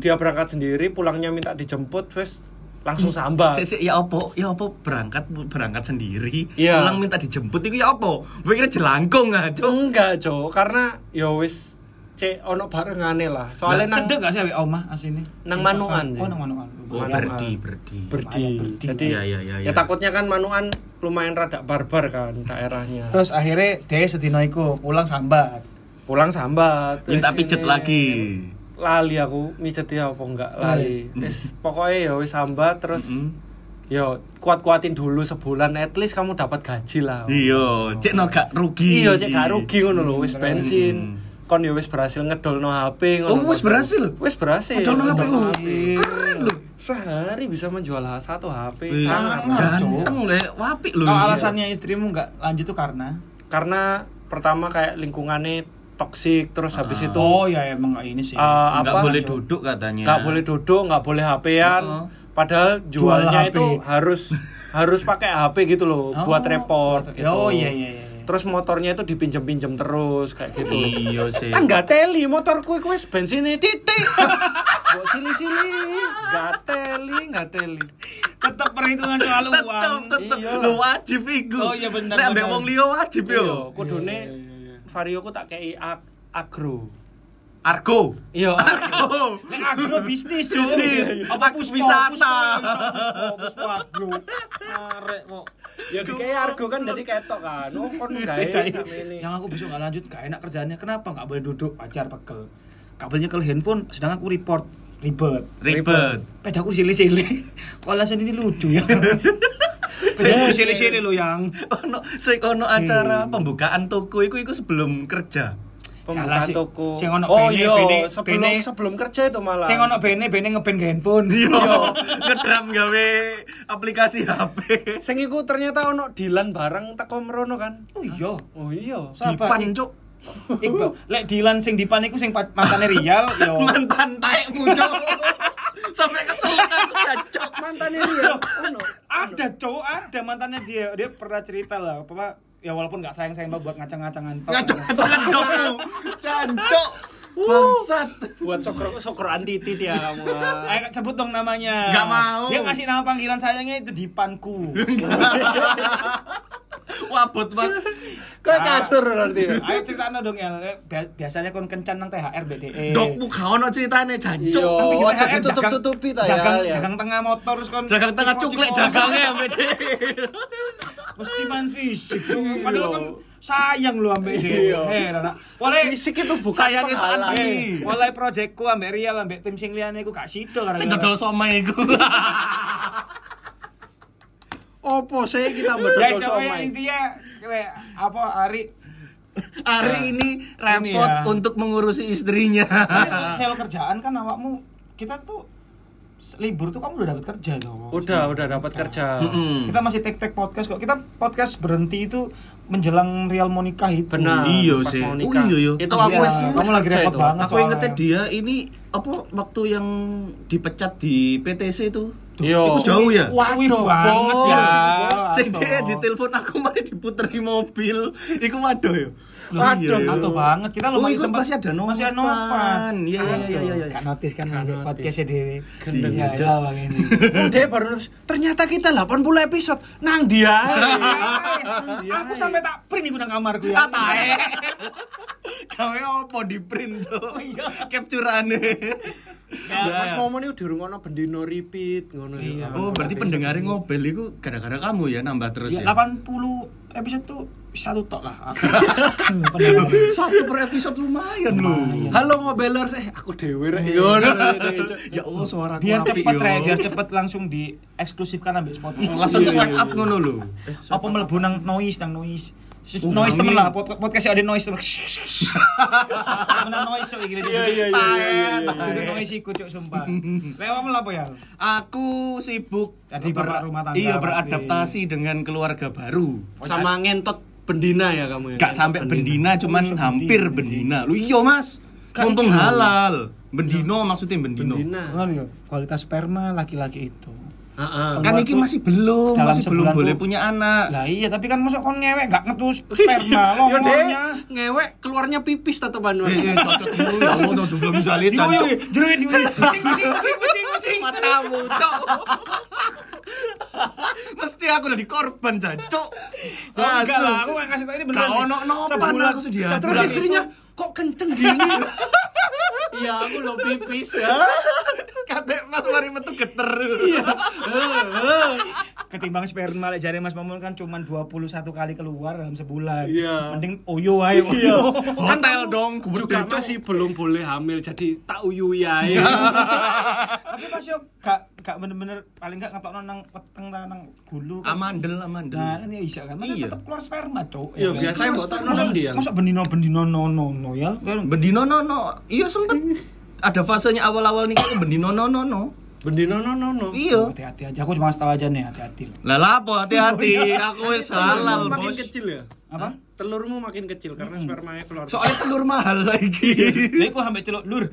Speaker 1: dia berangkat sendiri, pulangnya minta dijemput, terus langsung sambal.
Speaker 6: Sik, sik, ya opo, ya opo berangkat berangkat sendiri.
Speaker 1: Iya.
Speaker 6: Pulang minta dijemput itu ya opo. Gue kira jelangkung aja.
Speaker 1: Enggak, Jo, karena ya wis cek ono barengane lah. Soalnya nang
Speaker 3: Cedek gak sih awake omah asine?
Speaker 1: Nang
Speaker 3: Sing
Speaker 1: Manuan
Speaker 3: makan.
Speaker 1: sih.
Speaker 3: Oh, nang manuan.
Speaker 6: Oh, berdi, berdi.
Speaker 1: berdi.
Speaker 3: Berdi.
Speaker 1: Jadi
Speaker 6: Iya, iya, iya,
Speaker 1: ya
Speaker 6: iya.
Speaker 1: takutnya kan manuan lumayan rada barbar kan daerahnya.
Speaker 3: Terus akhirnya dia sedino iku pulang sambat.
Speaker 1: Pulang sambat. terus
Speaker 6: Minta Ya, pijet
Speaker 1: ini-
Speaker 6: lagi.
Speaker 1: lali aku mijeti apa enggak lali wis pokoknya ya wis sambat terus yo kuat-kuatin dulu sebulan at least kamu dapat gaji lah
Speaker 6: Iya, cek no gak rugi.
Speaker 1: iya cek gak rugi ngono lho wis bensin kon yo wis berhasil ngedolno HP ngono
Speaker 6: Oh, wis berhasil?
Speaker 1: wis berhasil
Speaker 6: Ngedolno HP,
Speaker 1: Ngedolno
Speaker 6: oh. Keren lho.
Speaker 1: sehari bisa menjual satu HP
Speaker 6: Wih,
Speaker 1: sangat
Speaker 3: Mas.
Speaker 6: Ganteng lek wapi lho.
Speaker 1: Nah,
Speaker 3: Kalau
Speaker 6: Iya.
Speaker 3: alasannya istrimu gak lanjut tuh karena
Speaker 1: karena pertama kayak lingkungannya toksik terus habis itu
Speaker 3: Oh ya emang gak ini
Speaker 1: eh,
Speaker 3: sih.
Speaker 6: Ah. nggak
Speaker 1: apa
Speaker 6: boleh duduk katanya.
Speaker 1: nggak boleh duduk nggak boleh HP-an
Speaker 6: Iya. Heeh.
Speaker 1: pas Padahal jualnya
Speaker 3: HP.
Speaker 1: itu harus harus pakai HP gitu loh
Speaker 3: Oh,
Speaker 1: buat report
Speaker 3: buat-
Speaker 1: gitu.
Speaker 3: oh, iya, iya, iya.
Speaker 1: Terus motornya itu dipinjem-pinjem terus kayak gitu.
Speaker 6: Iya sih.
Speaker 1: kan nggak teli motorku itu wis bensinnya titik. Mbok sili-sili, nggak teli, nggak teli.
Speaker 3: tetap perhitungan soal uang
Speaker 6: Tetep, tetep.
Speaker 1: Iyalah.
Speaker 6: Lo wajib iku.
Speaker 3: Oh, iya bener,
Speaker 6: Nek ambek
Speaker 3: bener.
Speaker 6: wong liya wajib
Speaker 1: Yo,
Speaker 6: yo.
Speaker 1: Iya, kudune
Speaker 3: Iya,
Speaker 1: Vario ku tak kei ag agro.
Speaker 6: Argo.
Speaker 1: Iya,
Speaker 6: Argo.
Speaker 3: Nek agro bisnis cuy.
Speaker 6: Bisnis.
Speaker 3: Apa
Speaker 6: Puspo,
Speaker 3: puspo
Speaker 6: wisata.
Speaker 3: Puspo, puspo agro. Arek kok.
Speaker 1: ya dikei argo kan jadi ketok kan. Oh, kon gawe sak ngene.
Speaker 3: Yang aku besok nggak lanjut, gak enak kerjaannya. Kenapa nggak boleh duduk? Pacar pegel. Kabelnya ke handphone, sedang aku report ribet.
Speaker 6: Ribet.
Speaker 3: Pedaku silih-silih. Kok alasan ini lucu ya? Pedaku silih-silih lo yang.
Speaker 6: Ono sing ono
Speaker 3: Hmm.
Speaker 6: acara pembukaan toko iku iku sebelum kerja.
Speaker 1: Pembukaan
Speaker 3: Alah, si-
Speaker 1: toko.
Speaker 3: sing ono
Speaker 1: oh
Speaker 3: bene,
Speaker 1: iya,
Speaker 3: bene,
Speaker 1: sebelum
Speaker 3: bene.
Speaker 1: sebelum kerja itu malah.
Speaker 3: Saya ngono bene bene ngeben ke handphone.
Speaker 6: Yo, ngedram gawe aplikasi HP.
Speaker 1: Sing iku ternyata ono Dilan bareng teko merono kan.
Speaker 3: Oh iya.
Speaker 1: Oh iya.
Speaker 3: Sabar,
Speaker 6: Dipan cuk.
Speaker 3: Iqbal, lek Dilan sing dipan iku sing pa- mantannya Rial iya. yo.
Speaker 6: Mantan taek muncul. Sampai kesel aku cocok.
Speaker 1: Mantan ini ya. Ono.
Speaker 3: ada cowok ada mantannya dia dia pernah cerita lah apa ya walaupun nggak sayang sayang buat ngacang-ngacangan tok.
Speaker 6: Ngacok ngedokmu. Cancok. Bangsat.
Speaker 1: Buat sokro sokro anti titit ya kamu. ah.
Speaker 3: Ayo sebut dong namanya.
Speaker 6: Nggak mau.
Speaker 3: Dia ngasih nama panggilan sayangnya itu Dipanku.
Speaker 6: Wabot, Mas.
Speaker 1: Kayak kasur berarti. ya.
Speaker 3: Ayo cerita dong ya. Bi- Biasanya kon kencan nang THR BDE.
Speaker 6: Dokmu gak ono ceritane
Speaker 1: Iya.
Speaker 6: jancuk.
Speaker 3: Tapi
Speaker 1: Oh,
Speaker 3: kita
Speaker 1: aja
Speaker 3: THR jagang-
Speaker 1: tutup-tutupi ta, ya,
Speaker 3: Jagang,
Speaker 1: ya.
Speaker 3: jagang tengah motor terus kon.
Speaker 6: Jagang tengah cuklek jagangnya sampe deh.
Speaker 3: Mesti main fisik. Padahal kan sayang lu ambek dia. Heran, nak.
Speaker 1: Iya.
Speaker 3: Walai
Speaker 1: Eh, Fisik itu bukan
Speaker 6: Sayangnya
Speaker 1: penghalang.
Speaker 6: saat ini.
Speaker 3: Eh, Walai proyekku ambek Rial ambek tim sing liyane iku gak sido
Speaker 6: Sing
Speaker 3: karena. kan.
Speaker 6: dodol somai iku.
Speaker 1: Opo sih kita
Speaker 3: Ya
Speaker 1: berdodol
Speaker 3: pokoknya
Speaker 1: somai.
Speaker 3: intinya kayak apa Ari
Speaker 6: Hari ini repot
Speaker 3: Ini ya.
Speaker 6: untuk mengurusi istrinya.
Speaker 3: sel kerjaan kan awakmu kita tuh se- libur tuh kamu udah dapat kerja loh.
Speaker 1: Udah, udah dapat kerja.
Speaker 6: Mm.
Speaker 3: Kita masih tek tek podcast kok. Kita podcast berhenti itu menjelang Real mau nikah itu.
Speaker 1: Benar.
Speaker 6: Iya
Speaker 1: pas
Speaker 6: sih.
Speaker 1: mau
Speaker 6: Oh,
Speaker 1: nikah.
Speaker 6: iya, iya.
Speaker 1: Itu
Speaker 6: Tapi
Speaker 1: aku
Speaker 3: ya,
Speaker 1: wis
Speaker 3: kamu
Speaker 1: wis
Speaker 3: lagi
Speaker 1: kerja
Speaker 3: repot
Speaker 1: itu.
Speaker 3: banget.
Speaker 6: Aku ingetnya dia ini apa waktu yang dipecat di PTC itu.
Speaker 1: Iya.
Speaker 6: Itu jauh ya? Iya.
Speaker 1: Waduh,
Speaker 3: banget
Speaker 1: bos.
Speaker 3: ya.
Speaker 6: Sing dia ditelepon aku mari diputeri mobil. Iku waduh ya.
Speaker 3: Waduh, atau banget. Kita
Speaker 6: Oh,
Speaker 3: lumayan
Speaker 6: itu
Speaker 3: sempat-
Speaker 6: masih ada Novan.
Speaker 3: Masih ada Novan.
Speaker 6: Iya, iya, iya, iya, iya.
Speaker 3: Gak notice kan ada
Speaker 1: notice.
Speaker 3: podcastnya Dewi.
Speaker 1: Gendeng
Speaker 3: Iya,
Speaker 6: aja.
Speaker 3: iya, makanya.
Speaker 1: Oh, dia baru nulis, ternyata kita 80 episode nang dia.
Speaker 3: Iya, Aku sampai tak print di gudang kamarku ya.
Speaker 6: Atae. Gawe apa di print
Speaker 3: Oh,
Speaker 6: cuk?
Speaker 3: iya.
Speaker 6: Capture-ane.
Speaker 1: Mas Momo ini dirungono bendino repeat ngono
Speaker 3: Iya.
Speaker 1: ya.
Speaker 6: Oh, berarti pendengarnya ngobel itu gara-gara kamu ya nambah terus
Speaker 3: Ya,
Speaker 6: ya.
Speaker 3: 80 episode tuh satu tok lah. Aku.
Speaker 6: Loh, Satu per episode lumayan loh.
Speaker 1: Halo ngobelers, eh aku dewe rek.
Speaker 3: Iya.
Speaker 1: Ngono.
Speaker 6: Ya Allah suara aku
Speaker 3: biar
Speaker 6: apik,
Speaker 3: cepet
Speaker 6: yo.
Speaker 3: re, biar Iya, cepet langsung di eksklusifkan ambil Spotify.
Speaker 6: Langsung swipe up ngono lho.
Speaker 3: apa melebu nang noise nang noise Sus-
Speaker 6: Oh,
Speaker 3: noise temen
Speaker 6: angin.
Speaker 3: lah pod- podcast ada noise temen temen noise so gini iya iya
Speaker 6: Tae.
Speaker 3: noise ikut cok sumpah lewat lah apa ya
Speaker 6: Aku sibuk
Speaker 3: Jadi
Speaker 6: ber-
Speaker 3: bapak rumah tangga
Speaker 6: Iya,
Speaker 3: pasti.
Speaker 6: beradaptasi dengan keluarga baru.
Speaker 1: Sama ngentot bendina ya kamu ya.
Speaker 6: Gak sampai bendina, cuman hampir bendina. Lu iya, Mas.
Speaker 3: iya,
Speaker 6: Mumpung halal. Bendino maksudnya bendino.
Speaker 1: Bendina.
Speaker 3: Kan ya, kualitas sperma laki-laki itu
Speaker 1: Heeh.
Speaker 6: Kan
Speaker 3: Keluar
Speaker 6: iki
Speaker 3: tuh
Speaker 6: masih belum,
Speaker 3: dalam
Speaker 6: masih belum
Speaker 3: sebulan
Speaker 6: boleh
Speaker 3: tuh-
Speaker 6: punya anak.
Speaker 3: lah iya tapi kan masuk kon ngewek gak ngetus sperma
Speaker 1: Ya deh,
Speaker 3: longornya
Speaker 1: ngewek keluarnya pipis tata Bandung.
Speaker 6: Eh, eh, cocok dulu ya Allah, cocok belum bisa lihat cancok.
Speaker 3: Diuyui, jeruin diuyui pusing pusing pusing pusing pusing
Speaker 6: Matamu, cok. Mesti aku jadi korban, cancok.
Speaker 3: Oh, enggak lah, aku gak kasih tau ini beneran
Speaker 6: Gak
Speaker 3: nih.
Speaker 6: ono nopan,
Speaker 3: Sebulan-
Speaker 6: aku sedih hati.
Speaker 1: Terus
Speaker 3: sebulan itu-
Speaker 1: istrinya kok kenceng gini? Ya aku lo pipis ya.
Speaker 6: Kate Mas mari metu geter.
Speaker 3: ketimbang sperma lek jare Mas Mamun kan cuman 21 kali keluar dalam sebulan.
Speaker 1: Iya.
Speaker 3: Mending oyo ae. Oyo.
Speaker 6: Hotel dong, gubernur
Speaker 1: Juga
Speaker 6: Cok.
Speaker 1: masih belum boleh hamil jadi tak ya. uyui ae.
Speaker 3: Tapi Mas yo gak gak bener-bener paling gak ngetokno nang peteng ta nang gulu. kan.
Speaker 6: amandel, amandel.
Speaker 3: Nah, kan ya bisa kan. Masa
Speaker 6: Ah, Iya.
Speaker 3: tetep keluar sperma, Cuk.
Speaker 1: Iya, biasanya mbok tokno nang
Speaker 6: ya?
Speaker 1: dia.
Speaker 3: Masa bendino-bendino no no no ya. Kan
Speaker 6: Bendino no no. Iya sempet ada fasenya awal-awal nikah tuh bendino no no no.
Speaker 1: Bendino no no no.
Speaker 6: Iya.
Speaker 3: hati-hati aja. Aku cuma ngasih tahu aja nih, hati-hati.
Speaker 6: Lah lapo
Speaker 3: Oh,
Speaker 6: hati-hati,
Speaker 3: iya.
Speaker 6: aku wis
Speaker 1: Telurmu
Speaker 6: halal,
Speaker 1: makin
Speaker 6: Bos. Hmm.
Speaker 1: kecil ya?
Speaker 3: Apa?
Speaker 1: Telurmu makin kecil karena spermanya keluar.
Speaker 6: Kan
Speaker 3: Iya.
Speaker 6: Soalnya telur mahal saiki.
Speaker 3: Lha iku sampe celuk lur.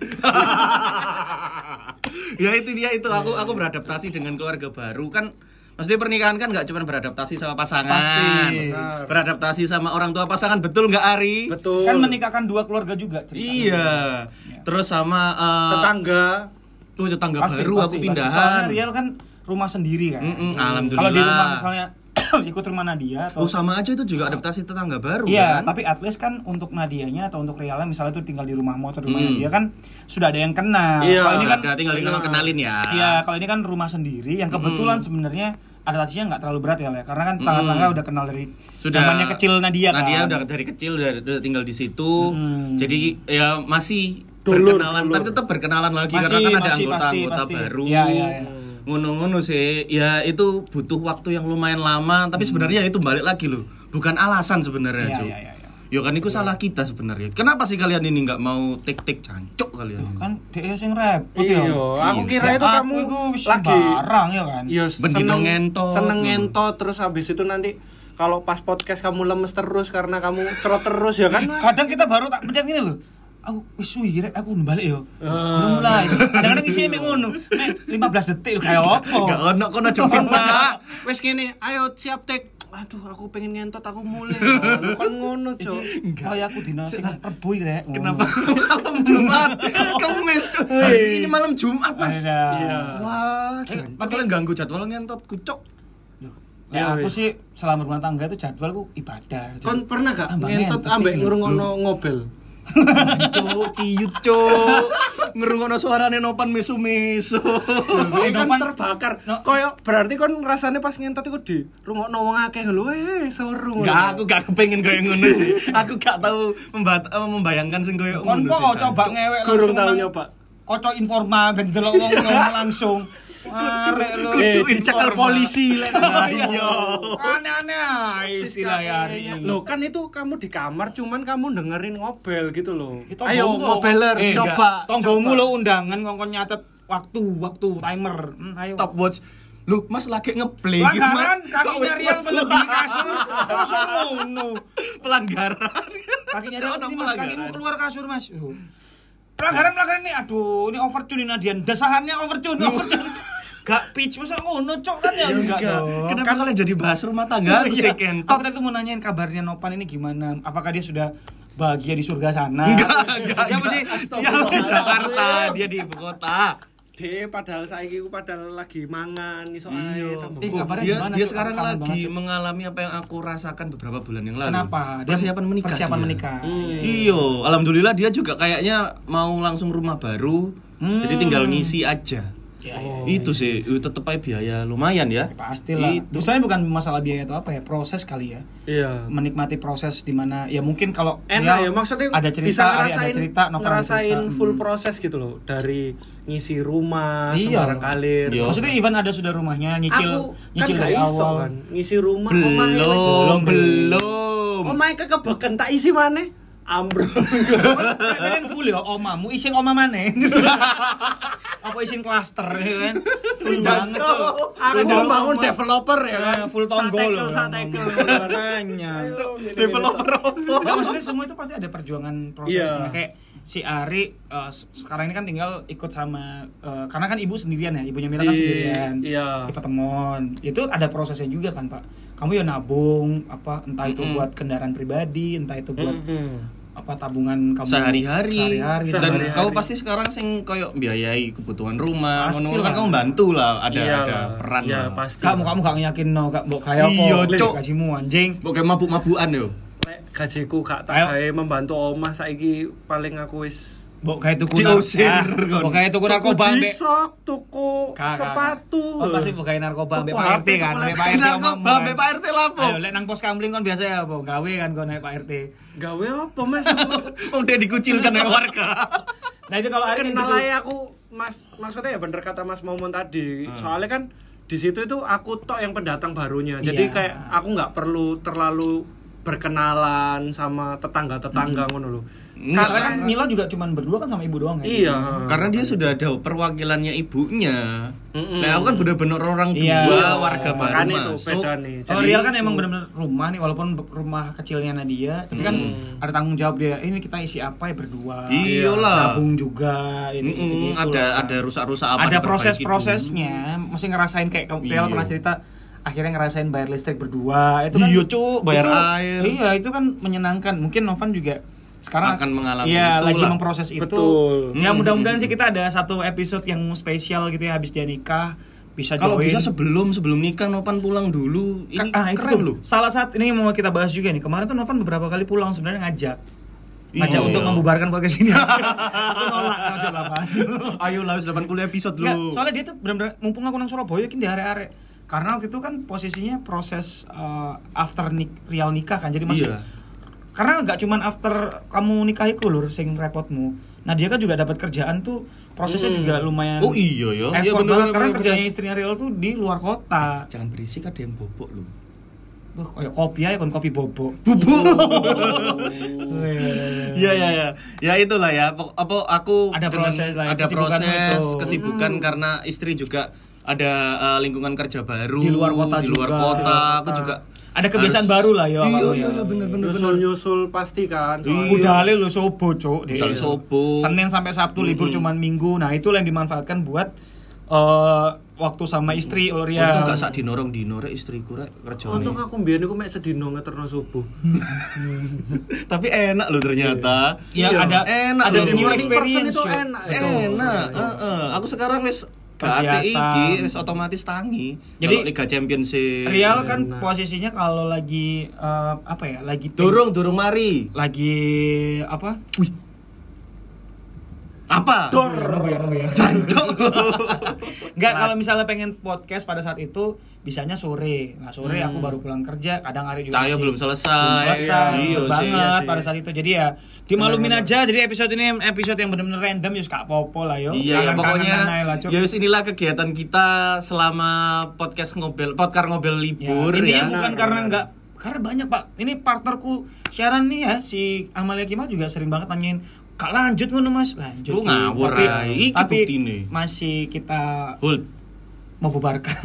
Speaker 6: ya itu dia itu aku aku beradaptasi dengan keluarga baru kan Maksudnya pernikahan kan nggak cuma beradaptasi sama pasangan,
Speaker 3: Pasti.
Speaker 6: Benar. beradaptasi sama orang tua pasangan betul nggak Ari?
Speaker 1: Betul.
Speaker 3: Kan menikahkan dua keluarga juga ceritanya.
Speaker 6: Oh. Iya. Terus sama eh,
Speaker 1: Tetangga
Speaker 6: tuh tetangga
Speaker 3: Pasti,
Speaker 6: baru
Speaker 3: pasti,
Speaker 6: aku
Speaker 3: pasti.
Speaker 6: pindahan.
Speaker 3: Soalnya Riel kan rumah sendiri kan.
Speaker 6: Mm-mm,
Speaker 3: Kalau di rumah
Speaker 6: alhamdulillah.
Speaker 3: misalnya ikut rumah Nadia
Speaker 6: Oh
Speaker 3: atau
Speaker 6: sama aja itu juga adaptasi tetangga baru
Speaker 3: Iya,
Speaker 6: kan?
Speaker 3: tapi at least kan untuk Nadianya atau untuk Rialnya misalnya tuh tinggal di rumah atau di rumah Nadia kan sudah ada yang
Speaker 1: Hmm.
Speaker 3: kenal.
Speaker 1: Iya,
Speaker 3: kalau
Speaker 6: ini
Speaker 3: ini kan
Speaker 6: ada tinggal kalau kenalin ya.
Speaker 3: Iya, kalau ini kan rumah sendiri
Speaker 1: Hmm.
Speaker 3: yang kebetulan sebenarnya adaptasinya nggak terlalu berat ya, Le. karena kan tangga-tangga udah kenal dari
Speaker 6: Sudah
Speaker 3: zamannya kecil Nadia kan. Hmm.
Speaker 6: Nadia udah dari kecil udah, udah tinggal di situ. Jadi ya masih
Speaker 1: Dulur,
Speaker 6: berkenalan, tapi tetap berkenalan lagi
Speaker 3: Masih,
Speaker 6: karena kan ada
Speaker 3: masih, pasti,
Speaker 6: anggota-anggota
Speaker 3: pasti.
Speaker 6: baru.
Speaker 3: Iya, iya, iya.
Speaker 6: Ngono-ngono sih. Ya itu butuh waktu yang lumayan lama, tapi sebenarnya itu balik lagi loh. Bukan alasan sebenarnya,
Speaker 3: Hmm. Iya,
Speaker 6: Cuk.
Speaker 3: iya, iya, iya.
Speaker 6: Ya kan itu salah kita sebenarnya. Kenapa sih kalian ini nggak mau tik-tik cancok kalian?
Speaker 3: kan dia sing repot ya.
Speaker 1: Iya, aku kira itu
Speaker 3: Aku
Speaker 1: kamu
Speaker 3: itu
Speaker 1: lagi
Speaker 3: sembarang ya kan.
Speaker 1: Iya,
Speaker 6: Bendino
Speaker 1: seneng
Speaker 6: ngentot.
Speaker 1: Seneng
Speaker 6: Hmm.
Speaker 1: ngentot terus habis itu nanti kalau pas podcast kamu lemes terus karena kamu cerot terus ya kan?
Speaker 3: kadang kita baru tak pencet gini loh aku wis suwi rek aku balik yo belum mulai
Speaker 1: Eh.
Speaker 3: jangan ngisi emek ngono Nek, 15 detik lho kayak opo
Speaker 6: Enggak ono kono jepang Pak.
Speaker 1: Nah, wes gini, ayo siap tek. Aduh, aku pengen ngentot, aku mulai. Oh, Lu kan ngono, Cok.
Speaker 3: kayak aku dino sing rebo iki rek
Speaker 6: Kenapa malam Jumat? Kamis Cuk. Hari ini malam Jumat Mas.
Speaker 3: iya
Speaker 6: Wah, jancok. kalian Eh, kan ganggu jadwal ngentot kucok.
Speaker 1: Ya,
Speaker 3: aku
Speaker 1: wis.
Speaker 3: sih selama rumah tangga itu jadwalku ibadah
Speaker 1: Kon pernah gak
Speaker 3: Tambah
Speaker 1: ngentot
Speaker 3: Ah, ngentot iya. Hmm.
Speaker 1: ambek
Speaker 3: iki.
Speaker 1: ngurungono ngobel?
Speaker 6: Cuk, ciut cuk. Ngerungono suarane nopan mesu-mesu.
Speaker 1: Ini kan
Speaker 3: Nopan-
Speaker 1: terbakar.
Speaker 3: No-
Speaker 1: Koyo berarti kon rasanya pas ngentot iku di rungokno wong akeh lho, eh seru.
Speaker 6: Enggak, aku gak kepengen kayak ngono sih. Aku gak tahu membat- eh, membayangkan sing kayak
Speaker 3: kon
Speaker 6: ngono
Speaker 3: kok
Speaker 6: sih.
Speaker 3: coba
Speaker 6: jancuk.
Speaker 3: ngewek
Speaker 1: Gurung tau
Speaker 3: nang-
Speaker 1: nyoba.
Speaker 3: kocok informa ben delok wong ngomong langsung arek lho
Speaker 6: Kudu
Speaker 3: Eh,
Speaker 6: dicekel
Speaker 3: informa.
Speaker 6: polisi lah. Nah, Iya.
Speaker 3: aneh-aneh istilah ya hari ini.
Speaker 1: Loh kan itu kamu di kamar cuman kamu dengerin ngobel gitu loh.
Speaker 3: Itu
Speaker 1: Ayo
Speaker 3: tonggomu loh.
Speaker 1: ngobeler
Speaker 3: Eh,
Speaker 1: coba.
Speaker 3: Tonggomu lo undangan ngongkon nyatet waktu, waktu, timer. Hmm, ayo.
Speaker 6: Stopwatch. Lu Mas lagi ngeplay gitu,
Speaker 3: Pelanggaran
Speaker 6: Mas. Kok
Speaker 3: kakinya
Speaker 6: wis
Speaker 3: Riel
Speaker 6: metu?
Speaker 3: melebihi kasur. Kosong ngono.
Speaker 6: pelanggaran.
Speaker 3: Kakinya
Speaker 6: Cok,
Speaker 3: Riel
Speaker 6: ono
Speaker 3: ini Mas kakimu
Speaker 6: pelanggaran.
Speaker 3: keluar kasur, Mas. Oh. Pelanggaran pelanggaran ini aduh, ini overtune ini Nadian. Dasahannya overtune, overtune. Gak pitch masa ngono cok kan ya
Speaker 6: Enggak.
Speaker 3: enggak. dong.
Speaker 6: Kenapa kalian jadi bahas rumah tangga aku sih
Speaker 3: Iya.
Speaker 6: kentot?
Speaker 3: Aku tadi tuh mau nanyain kabarnya Nopan ini gimana? Apakah dia sudah bahagia di surga sana? Iya,
Speaker 6: Enggak, enggak.
Speaker 3: Dia
Speaker 6: enggak.
Speaker 3: masih
Speaker 6: Dia di
Speaker 3: Iya,
Speaker 6: Jakarta, dia di ibu kota.
Speaker 1: De padahal saiki ku padahal lagi mangan iso ae tambah
Speaker 3: Ih, kabarnya
Speaker 6: dia,
Speaker 3: Iya, gimana,
Speaker 6: dia
Speaker 3: Cuk?
Speaker 6: sekarang
Speaker 3: Aku kangen
Speaker 6: lagi
Speaker 3: banget, Cuk.
Speaker 6: mengalami apa yang aku rasakan beberapa bulan yang lalu.
Speaker 3: Kenapa? Dia
Speaker 6: Persiapan menikah.
Speaker 3: Persiapan
Speaker 6: dia.
Speaker 3: menikah.
Speaker 1: Hmm.
Speaker 6: Iyo, alhamdulillah dia juga kayaknya mau langsung rumah baru.
Speaker 3: Hmm.
Speaker 6: Jadi tinggal ngisi aja.
Speaker 3: Ya, ya.
Speaker 6: Itu sih eh, tetep aja biaya lumayan ya.
Speaker 3: Pastilah.
Speaker 6: Itu.
Speaker 3: Misalnya bukan masalah biaya atau apa ya, proses kali ya.
Speaker 1: Iya.
Speaker 3: Menikmati proses dimana ya mungkin kalau
Speaker 1: Enak ya
Speaker 3: Rial
Speaker 1: maksudnya
Speaker 3: ada cerita,
Speaker 1: bisa
Speaker 3: Ari
Speaker 1: ngerasain
Speaker 3: ada cerita, Novel ada cerita.
Speaker 1: ngerasain full
Speaker 3: Hmm.
Speaker 1: proses gitu loh dari ngisi rumah,
Speaker 3: Iya.
Speaker 1: sembarang kalir.
Speaker 6: Iya.
Speaker 3: Maksudnya even ada sudah rumahnya nyicil
Speaker 1: Aku kan
Speaker 3: nyicil
Speaker 1: gak
Speaker 3: dari
Speaker 1: iso
Speaker 3: awal.
Speaker 1: kan ngisi rumah omahe wis-
Speaker 6: Belum, belum.
Speaker 1: Omahe kekebeken tak isi maneh. Ambruk.
Speaker 3: Pengen full ya omamu isin oma mana? apa isin klaster ya kan? Full banget tuh.
Speaker 1: Aku
Speaker 6: Jauh
Speaker 1: bangun
Speaker 6: amat.
Speaker 1: developer ya kan.
Speaker 3: Nah, full tonggo
Speaker 1: Satekel,
Speaker 3: loh.
Speaker 1: satekel.
Speaker 3: Makanya.
Speaker 6: Developer apa?
Speaker 3: Nggak, maksudnya semua itu pasti ada perjuangan prosesnya
Speaker 1: Iya.
Speaker 3: kayak si Ari eh, se- sekarang ini kan tinggal ikut sama eh, karena kan ibu sendirian ya ibunya Mila kan
Speaker 1: Di-
Speaker 3: sendirian
Speaker 1: iya.
Speaker 3: di Patemon itu ada prosesnya juga kan Pak kamu ya nabung apa entah itu
Speaker 6: Mm-mm.
Speaker 3: buat kendaraan pribadi entah itu buat apa tabungan kamu
Speaker 6: sehari-hari.
Speaker 3: sehari-hari
Speaker 6: dan
Speaker 1: Sehari-hari.
Speaker 6: kamu pasti sekarang sing koyo biayai kebutuhan rumah
Speaker 3: Pastilah.
Speaker 6: ngono kan kamu bantu lah ada
Speaker 1: Iya
Speaker 6: ada
Speaker 1: lah.
Speaker 6: peran
Speaker 1: Iya,
Speaker 6: lah.
Speaker 1: pasti.
Speaker 3: kamu kamu gak yakin no gak mbok kaya apa
Speaker 6: Iya,
Speaker 3: Lek,
Speaker 6: Cok.
Speaker 3: gajimu anjing
Speaker 6: Pokoknya mabuk-mabukan yo.
Speaker 1: Lek gajiku gak tak
Speaker 3: Ayo.
Speaker 1: gawe membantu omah saiki paling aku wis
Speaker 3: mbok kaya tuku
Speaker 6: Diusir,
Speaker 3: ah,
Speaker 6: kon.
Speaker 3: mbok kaya tuku
Speaker 1: tuku
Speaker 3: narkoba mbek
Speaker 1: jisok, tuku sepatu.
Speaker 3: Oh, pasti bukain narkoba
Speaker 1: Tuku
Speaker 3: mbak Pak RT
Speaker 1: HP,
Speaker 3: kan,
Speaker 1: tuku
Speaker 3: mbak
Speaker 1: laptop.
Speaker 3: Pak RT
Speaker 6: Narkoba
Speaker 3: ngomong,
Speaker 6: mbek
Speaker 3: kan.
Speaker 6: Pak RT lapo.
Speaker 3: Ayo, lek nang pos kamling kan biasa ya, Bo. Gawe kan kau naik Pak RT.
Speaker 1: Gawe apa mas?
Speaker 6: Wong dia dikucilkan oleh warga.
Speaker 3: Nah itu kalau Ari kan
Speaker 1: Kenal
Speaker 3: gitu.
Speaker 1: aja aku mas maksudnya ya bener kata Mas Momon tadi.
Speaker 3: Ah.
Speaker 1: Soalnya kan di situ itu aku tok yang pendatang barunya. Jadi
Speaker 3: Iya.
Speaker 1: kayak aku nggak perlu terlalu berkenalan sama
Speaker 3: Hmm.
Speaker 1: tetangga-tetangga ngono lho.
Speaker 3: Karena kan Mila juga cuman berdua kan sama ibu doang kan?
Speaker 1: Iya.
Speaker 6: Karena dia sudah ada perwakilannya ibunya.
Speaker 1: Mm-mm.
Speaker 6: Nah, aku kan bener-bener orang tua,
Speaker 3: Iya.
Speaker 6: warga baru
Speaker 1: Makanya itu
Speaker 6: masuk.
Speaker 1: beda nih.
Speaker 3: Kalau Rial kan emang benar-benar rumah nih walaupun be- rumah kecilnya Nadia, tapi kan
Speaker 6: Hmm.
Speaker 3: ada tanggung jawab dia. "Eh, Ini kita isi apa ya berdua?
Speaker 6: Iyalah.
Speaker 3: Nabung juga ini
Speaker 6: Mm-mm,
Speaker 3: gitu
Speaker 6: Iya Hmm, ada
Speaker 3: lah.
Speaker 6: ada rusak-rusak apa
Speaker 3: ada
Speaker 6: diperbaiki
Speaker 3: proses-prosesnya. Mesti ngerasain kayak kamu Rial
Speaker 6: Iya.
Speaker 3: pernah cerita akhirnya ngerasain bayar listrik berdua itu
Speaker 6: dulu.
Speaker 3: kan
Speaker 6: Iya, Cuk, bayar
Speaker 3: itu-
Speaker 6: air.
Speaker 3: Iya, itu kan menyenangkan. Mungkin Novan juga sekarang
Speaker 6: Akan mengalami
Speaker 3: Iya,
Speaker 6: itu
Speaker 3: lagi
Speaker 6: lah.
Speaker 3: memproses itu.
Speaker 1: Betul.
Speaker 3: Ya
Speaker 6: Hmm.
Speaker 3: mudah-mudahan sih kita ada satu episode yang spesial gitu ya habis dia nikah bisa
Speaker 6: Kalau
Speaker 3: join.
Speaker 6: bisa sebelum sebelum nikah Nopan pulang dulu. Ini
Speaker 3: Ah, itu
Speaker 6: keren
Speaker 3: tuh.
Speaker 6: loh.
Speaker 3: Salah satu ini mau kita bahas juga nih. Kemarin tuh Novan beberapa kali pulang sebenarnya ngajak. Ngajak
Speaker 6: Iya.
Speaker 3: untuk membubarkan podcast ini. aku nolak ngajak lapangan.
Speaker 6: Ayo lah 80 episode
Speaker 3: Nggak,
Speaker 6: lu.
Speaker 3: soalnya dia tuh benar-benar mumpung aku nang Surabaya kan di arek-arek. Karena waktu itu kan posisinya proses eh, after nik real nikah kan. Jadi masih
Speaker 6: Iya.
Speaker 3: Karena nggak cuman after kamu nikah iku lur sing repotmu. Nah, dia kan juga dapat kerjaan tuh prosesnya juga lumayan
Speaker 6: Oh iya ya. Iya bener,
Speaker 3: effort banget
Speaker 6: bener,
Speaker 3: karena
Speaker 6: bener,
Speaker 3: kerjanya
Speaker 6: bener.
Speaker 3: istrinya real tuh di luar kota.
Speaker 6: Jangan berisik ada yang bobok lu.
Speaker 3: Wah, kayak kopi aja kon kopi bobo.
Speaker 6: Bubuk.
Speaker 3: Weh.
Speaker 6: Iya iya iya. Ya itulah ya. Pok- Apa aku
Speaker 3: Ada proses lah, ya,
Speaker 6: ada
Speaker 3: kesibukan Hmm.
Speaker 6: proses
Speaker 3: itu.
Speaker 6: kesibukan karena istri juga ada eh, lingkungan kerja baru
Speaker 3: Di luar kota
Speaker 6: di luar
Speaker 3: juga.
Speaker 6: kota.
Speaker 3: Di luar
Speaker 6: Aku
Speaker 3: kota.
Speaker 6: juga
Speaker 3: Ada kebiasaan baru lah ya,
Speaker 6: Iya
Speaker 3: awal-awal
Speaker 6: iya
Speaker 3: ya.
Speaker 6: iya, bener bener bener.
Speaker 1: Nyusul-nyusul pasti kan. soalnya.
Speaker 3: Udah ale lu sobo, Cuk. Dek.
Speaker 6: Budale Iya. sobo.
Speaker 3: Senin sampai Sabtu libur cuman Minggu. Nah, itu yang dimanfaatkan buat eh waktu sama istri Loria.
Speaker 6: Untung gak sak dinorong dinorek istriku rek kerjane.
Speaker 1: Untung aku mbiyen iku mek sedino ngeterno subuh.
Speaker 6: Tapi enak loh ternyata.
Speaker 3: Ya
Speaker 1: Iya.
Speaker 3: ada
Speaker 6: Enak
Speaker 3: ada
Speaker 6: loh.
Speaker 3: new
Speaker 6: Learning
Speaker 1: person
Speaker 3: experience.
Speaker 1: itu
Speaker 3: Cuk.
Speaker 1: enak.
Speaker 6: Enak. heeh. Aku sekarang wis gak
Speaker 3: Kebiasaan.
Speaker 6: ati iki wis otomatis tangi.
Speaker 3: Jadi,
Speaker 6: Kalau Liga Champions e- sih.
Speaker 3: Rial kan
Speaker 6: Iya.
Speaker 1: Enak.
Speaker 3: posisinya kalau lagi eh, apa ya? Lagi peng-
Speaker 6: Durung durung mari.
Speaker 3: lagi apa?
Speaker 6: Apa?
Speaker 3: Nunggu ya, nunggu ya.
Speaker 6: Jancok.
Speaker 3: Enggak, kalau misalnya pengen podcast pada saat itu bisanya sore. Nah, sore aku baru pulang kerja, kadang hari juga
Speaker 6: Tayo
Speaker 3: masih-
Speaker 6: Mm. belum selesai.
Speaker 3: Iya Belum selesai.
Speaker 6: Iya,
Speaker 3: banget
Speaker 6: sih, iya sih.
Speaker 3: pada saat itu. Jadi ya dimaklumin aja. Jadi episode ini episode yang benar-benar random ya gak popo lah yo.
Speaker 6: Iya ya
Speaker 3: Kangen-kangenan
Speaker 6: pokoknya
Speaker 3: aja lah, Cuk.
Speaker 6: ya wis inilah kegiatan kita selama podcast ngobel podcast ngobel
Speaker 3: Ya,
Speaker 6: libur
Speaker 3: intinya
Speaker 6: ya.
Speaker 3: bukan karena enggak karena banyak pak ini partnerku Sharon nih ya si Amalia Kimal juga sering banget nanyain kak lanjut ngono mas lanjut
Speaker 6: Lu ngawur,
Speaker 3: tapi,
Speaker 6: Rai. Iki
Speaker 3: tapi
Speaker 6: buktine.
Speaker 3: masih kita
Speaker 6: Hold.
Speaker 3: membubarkan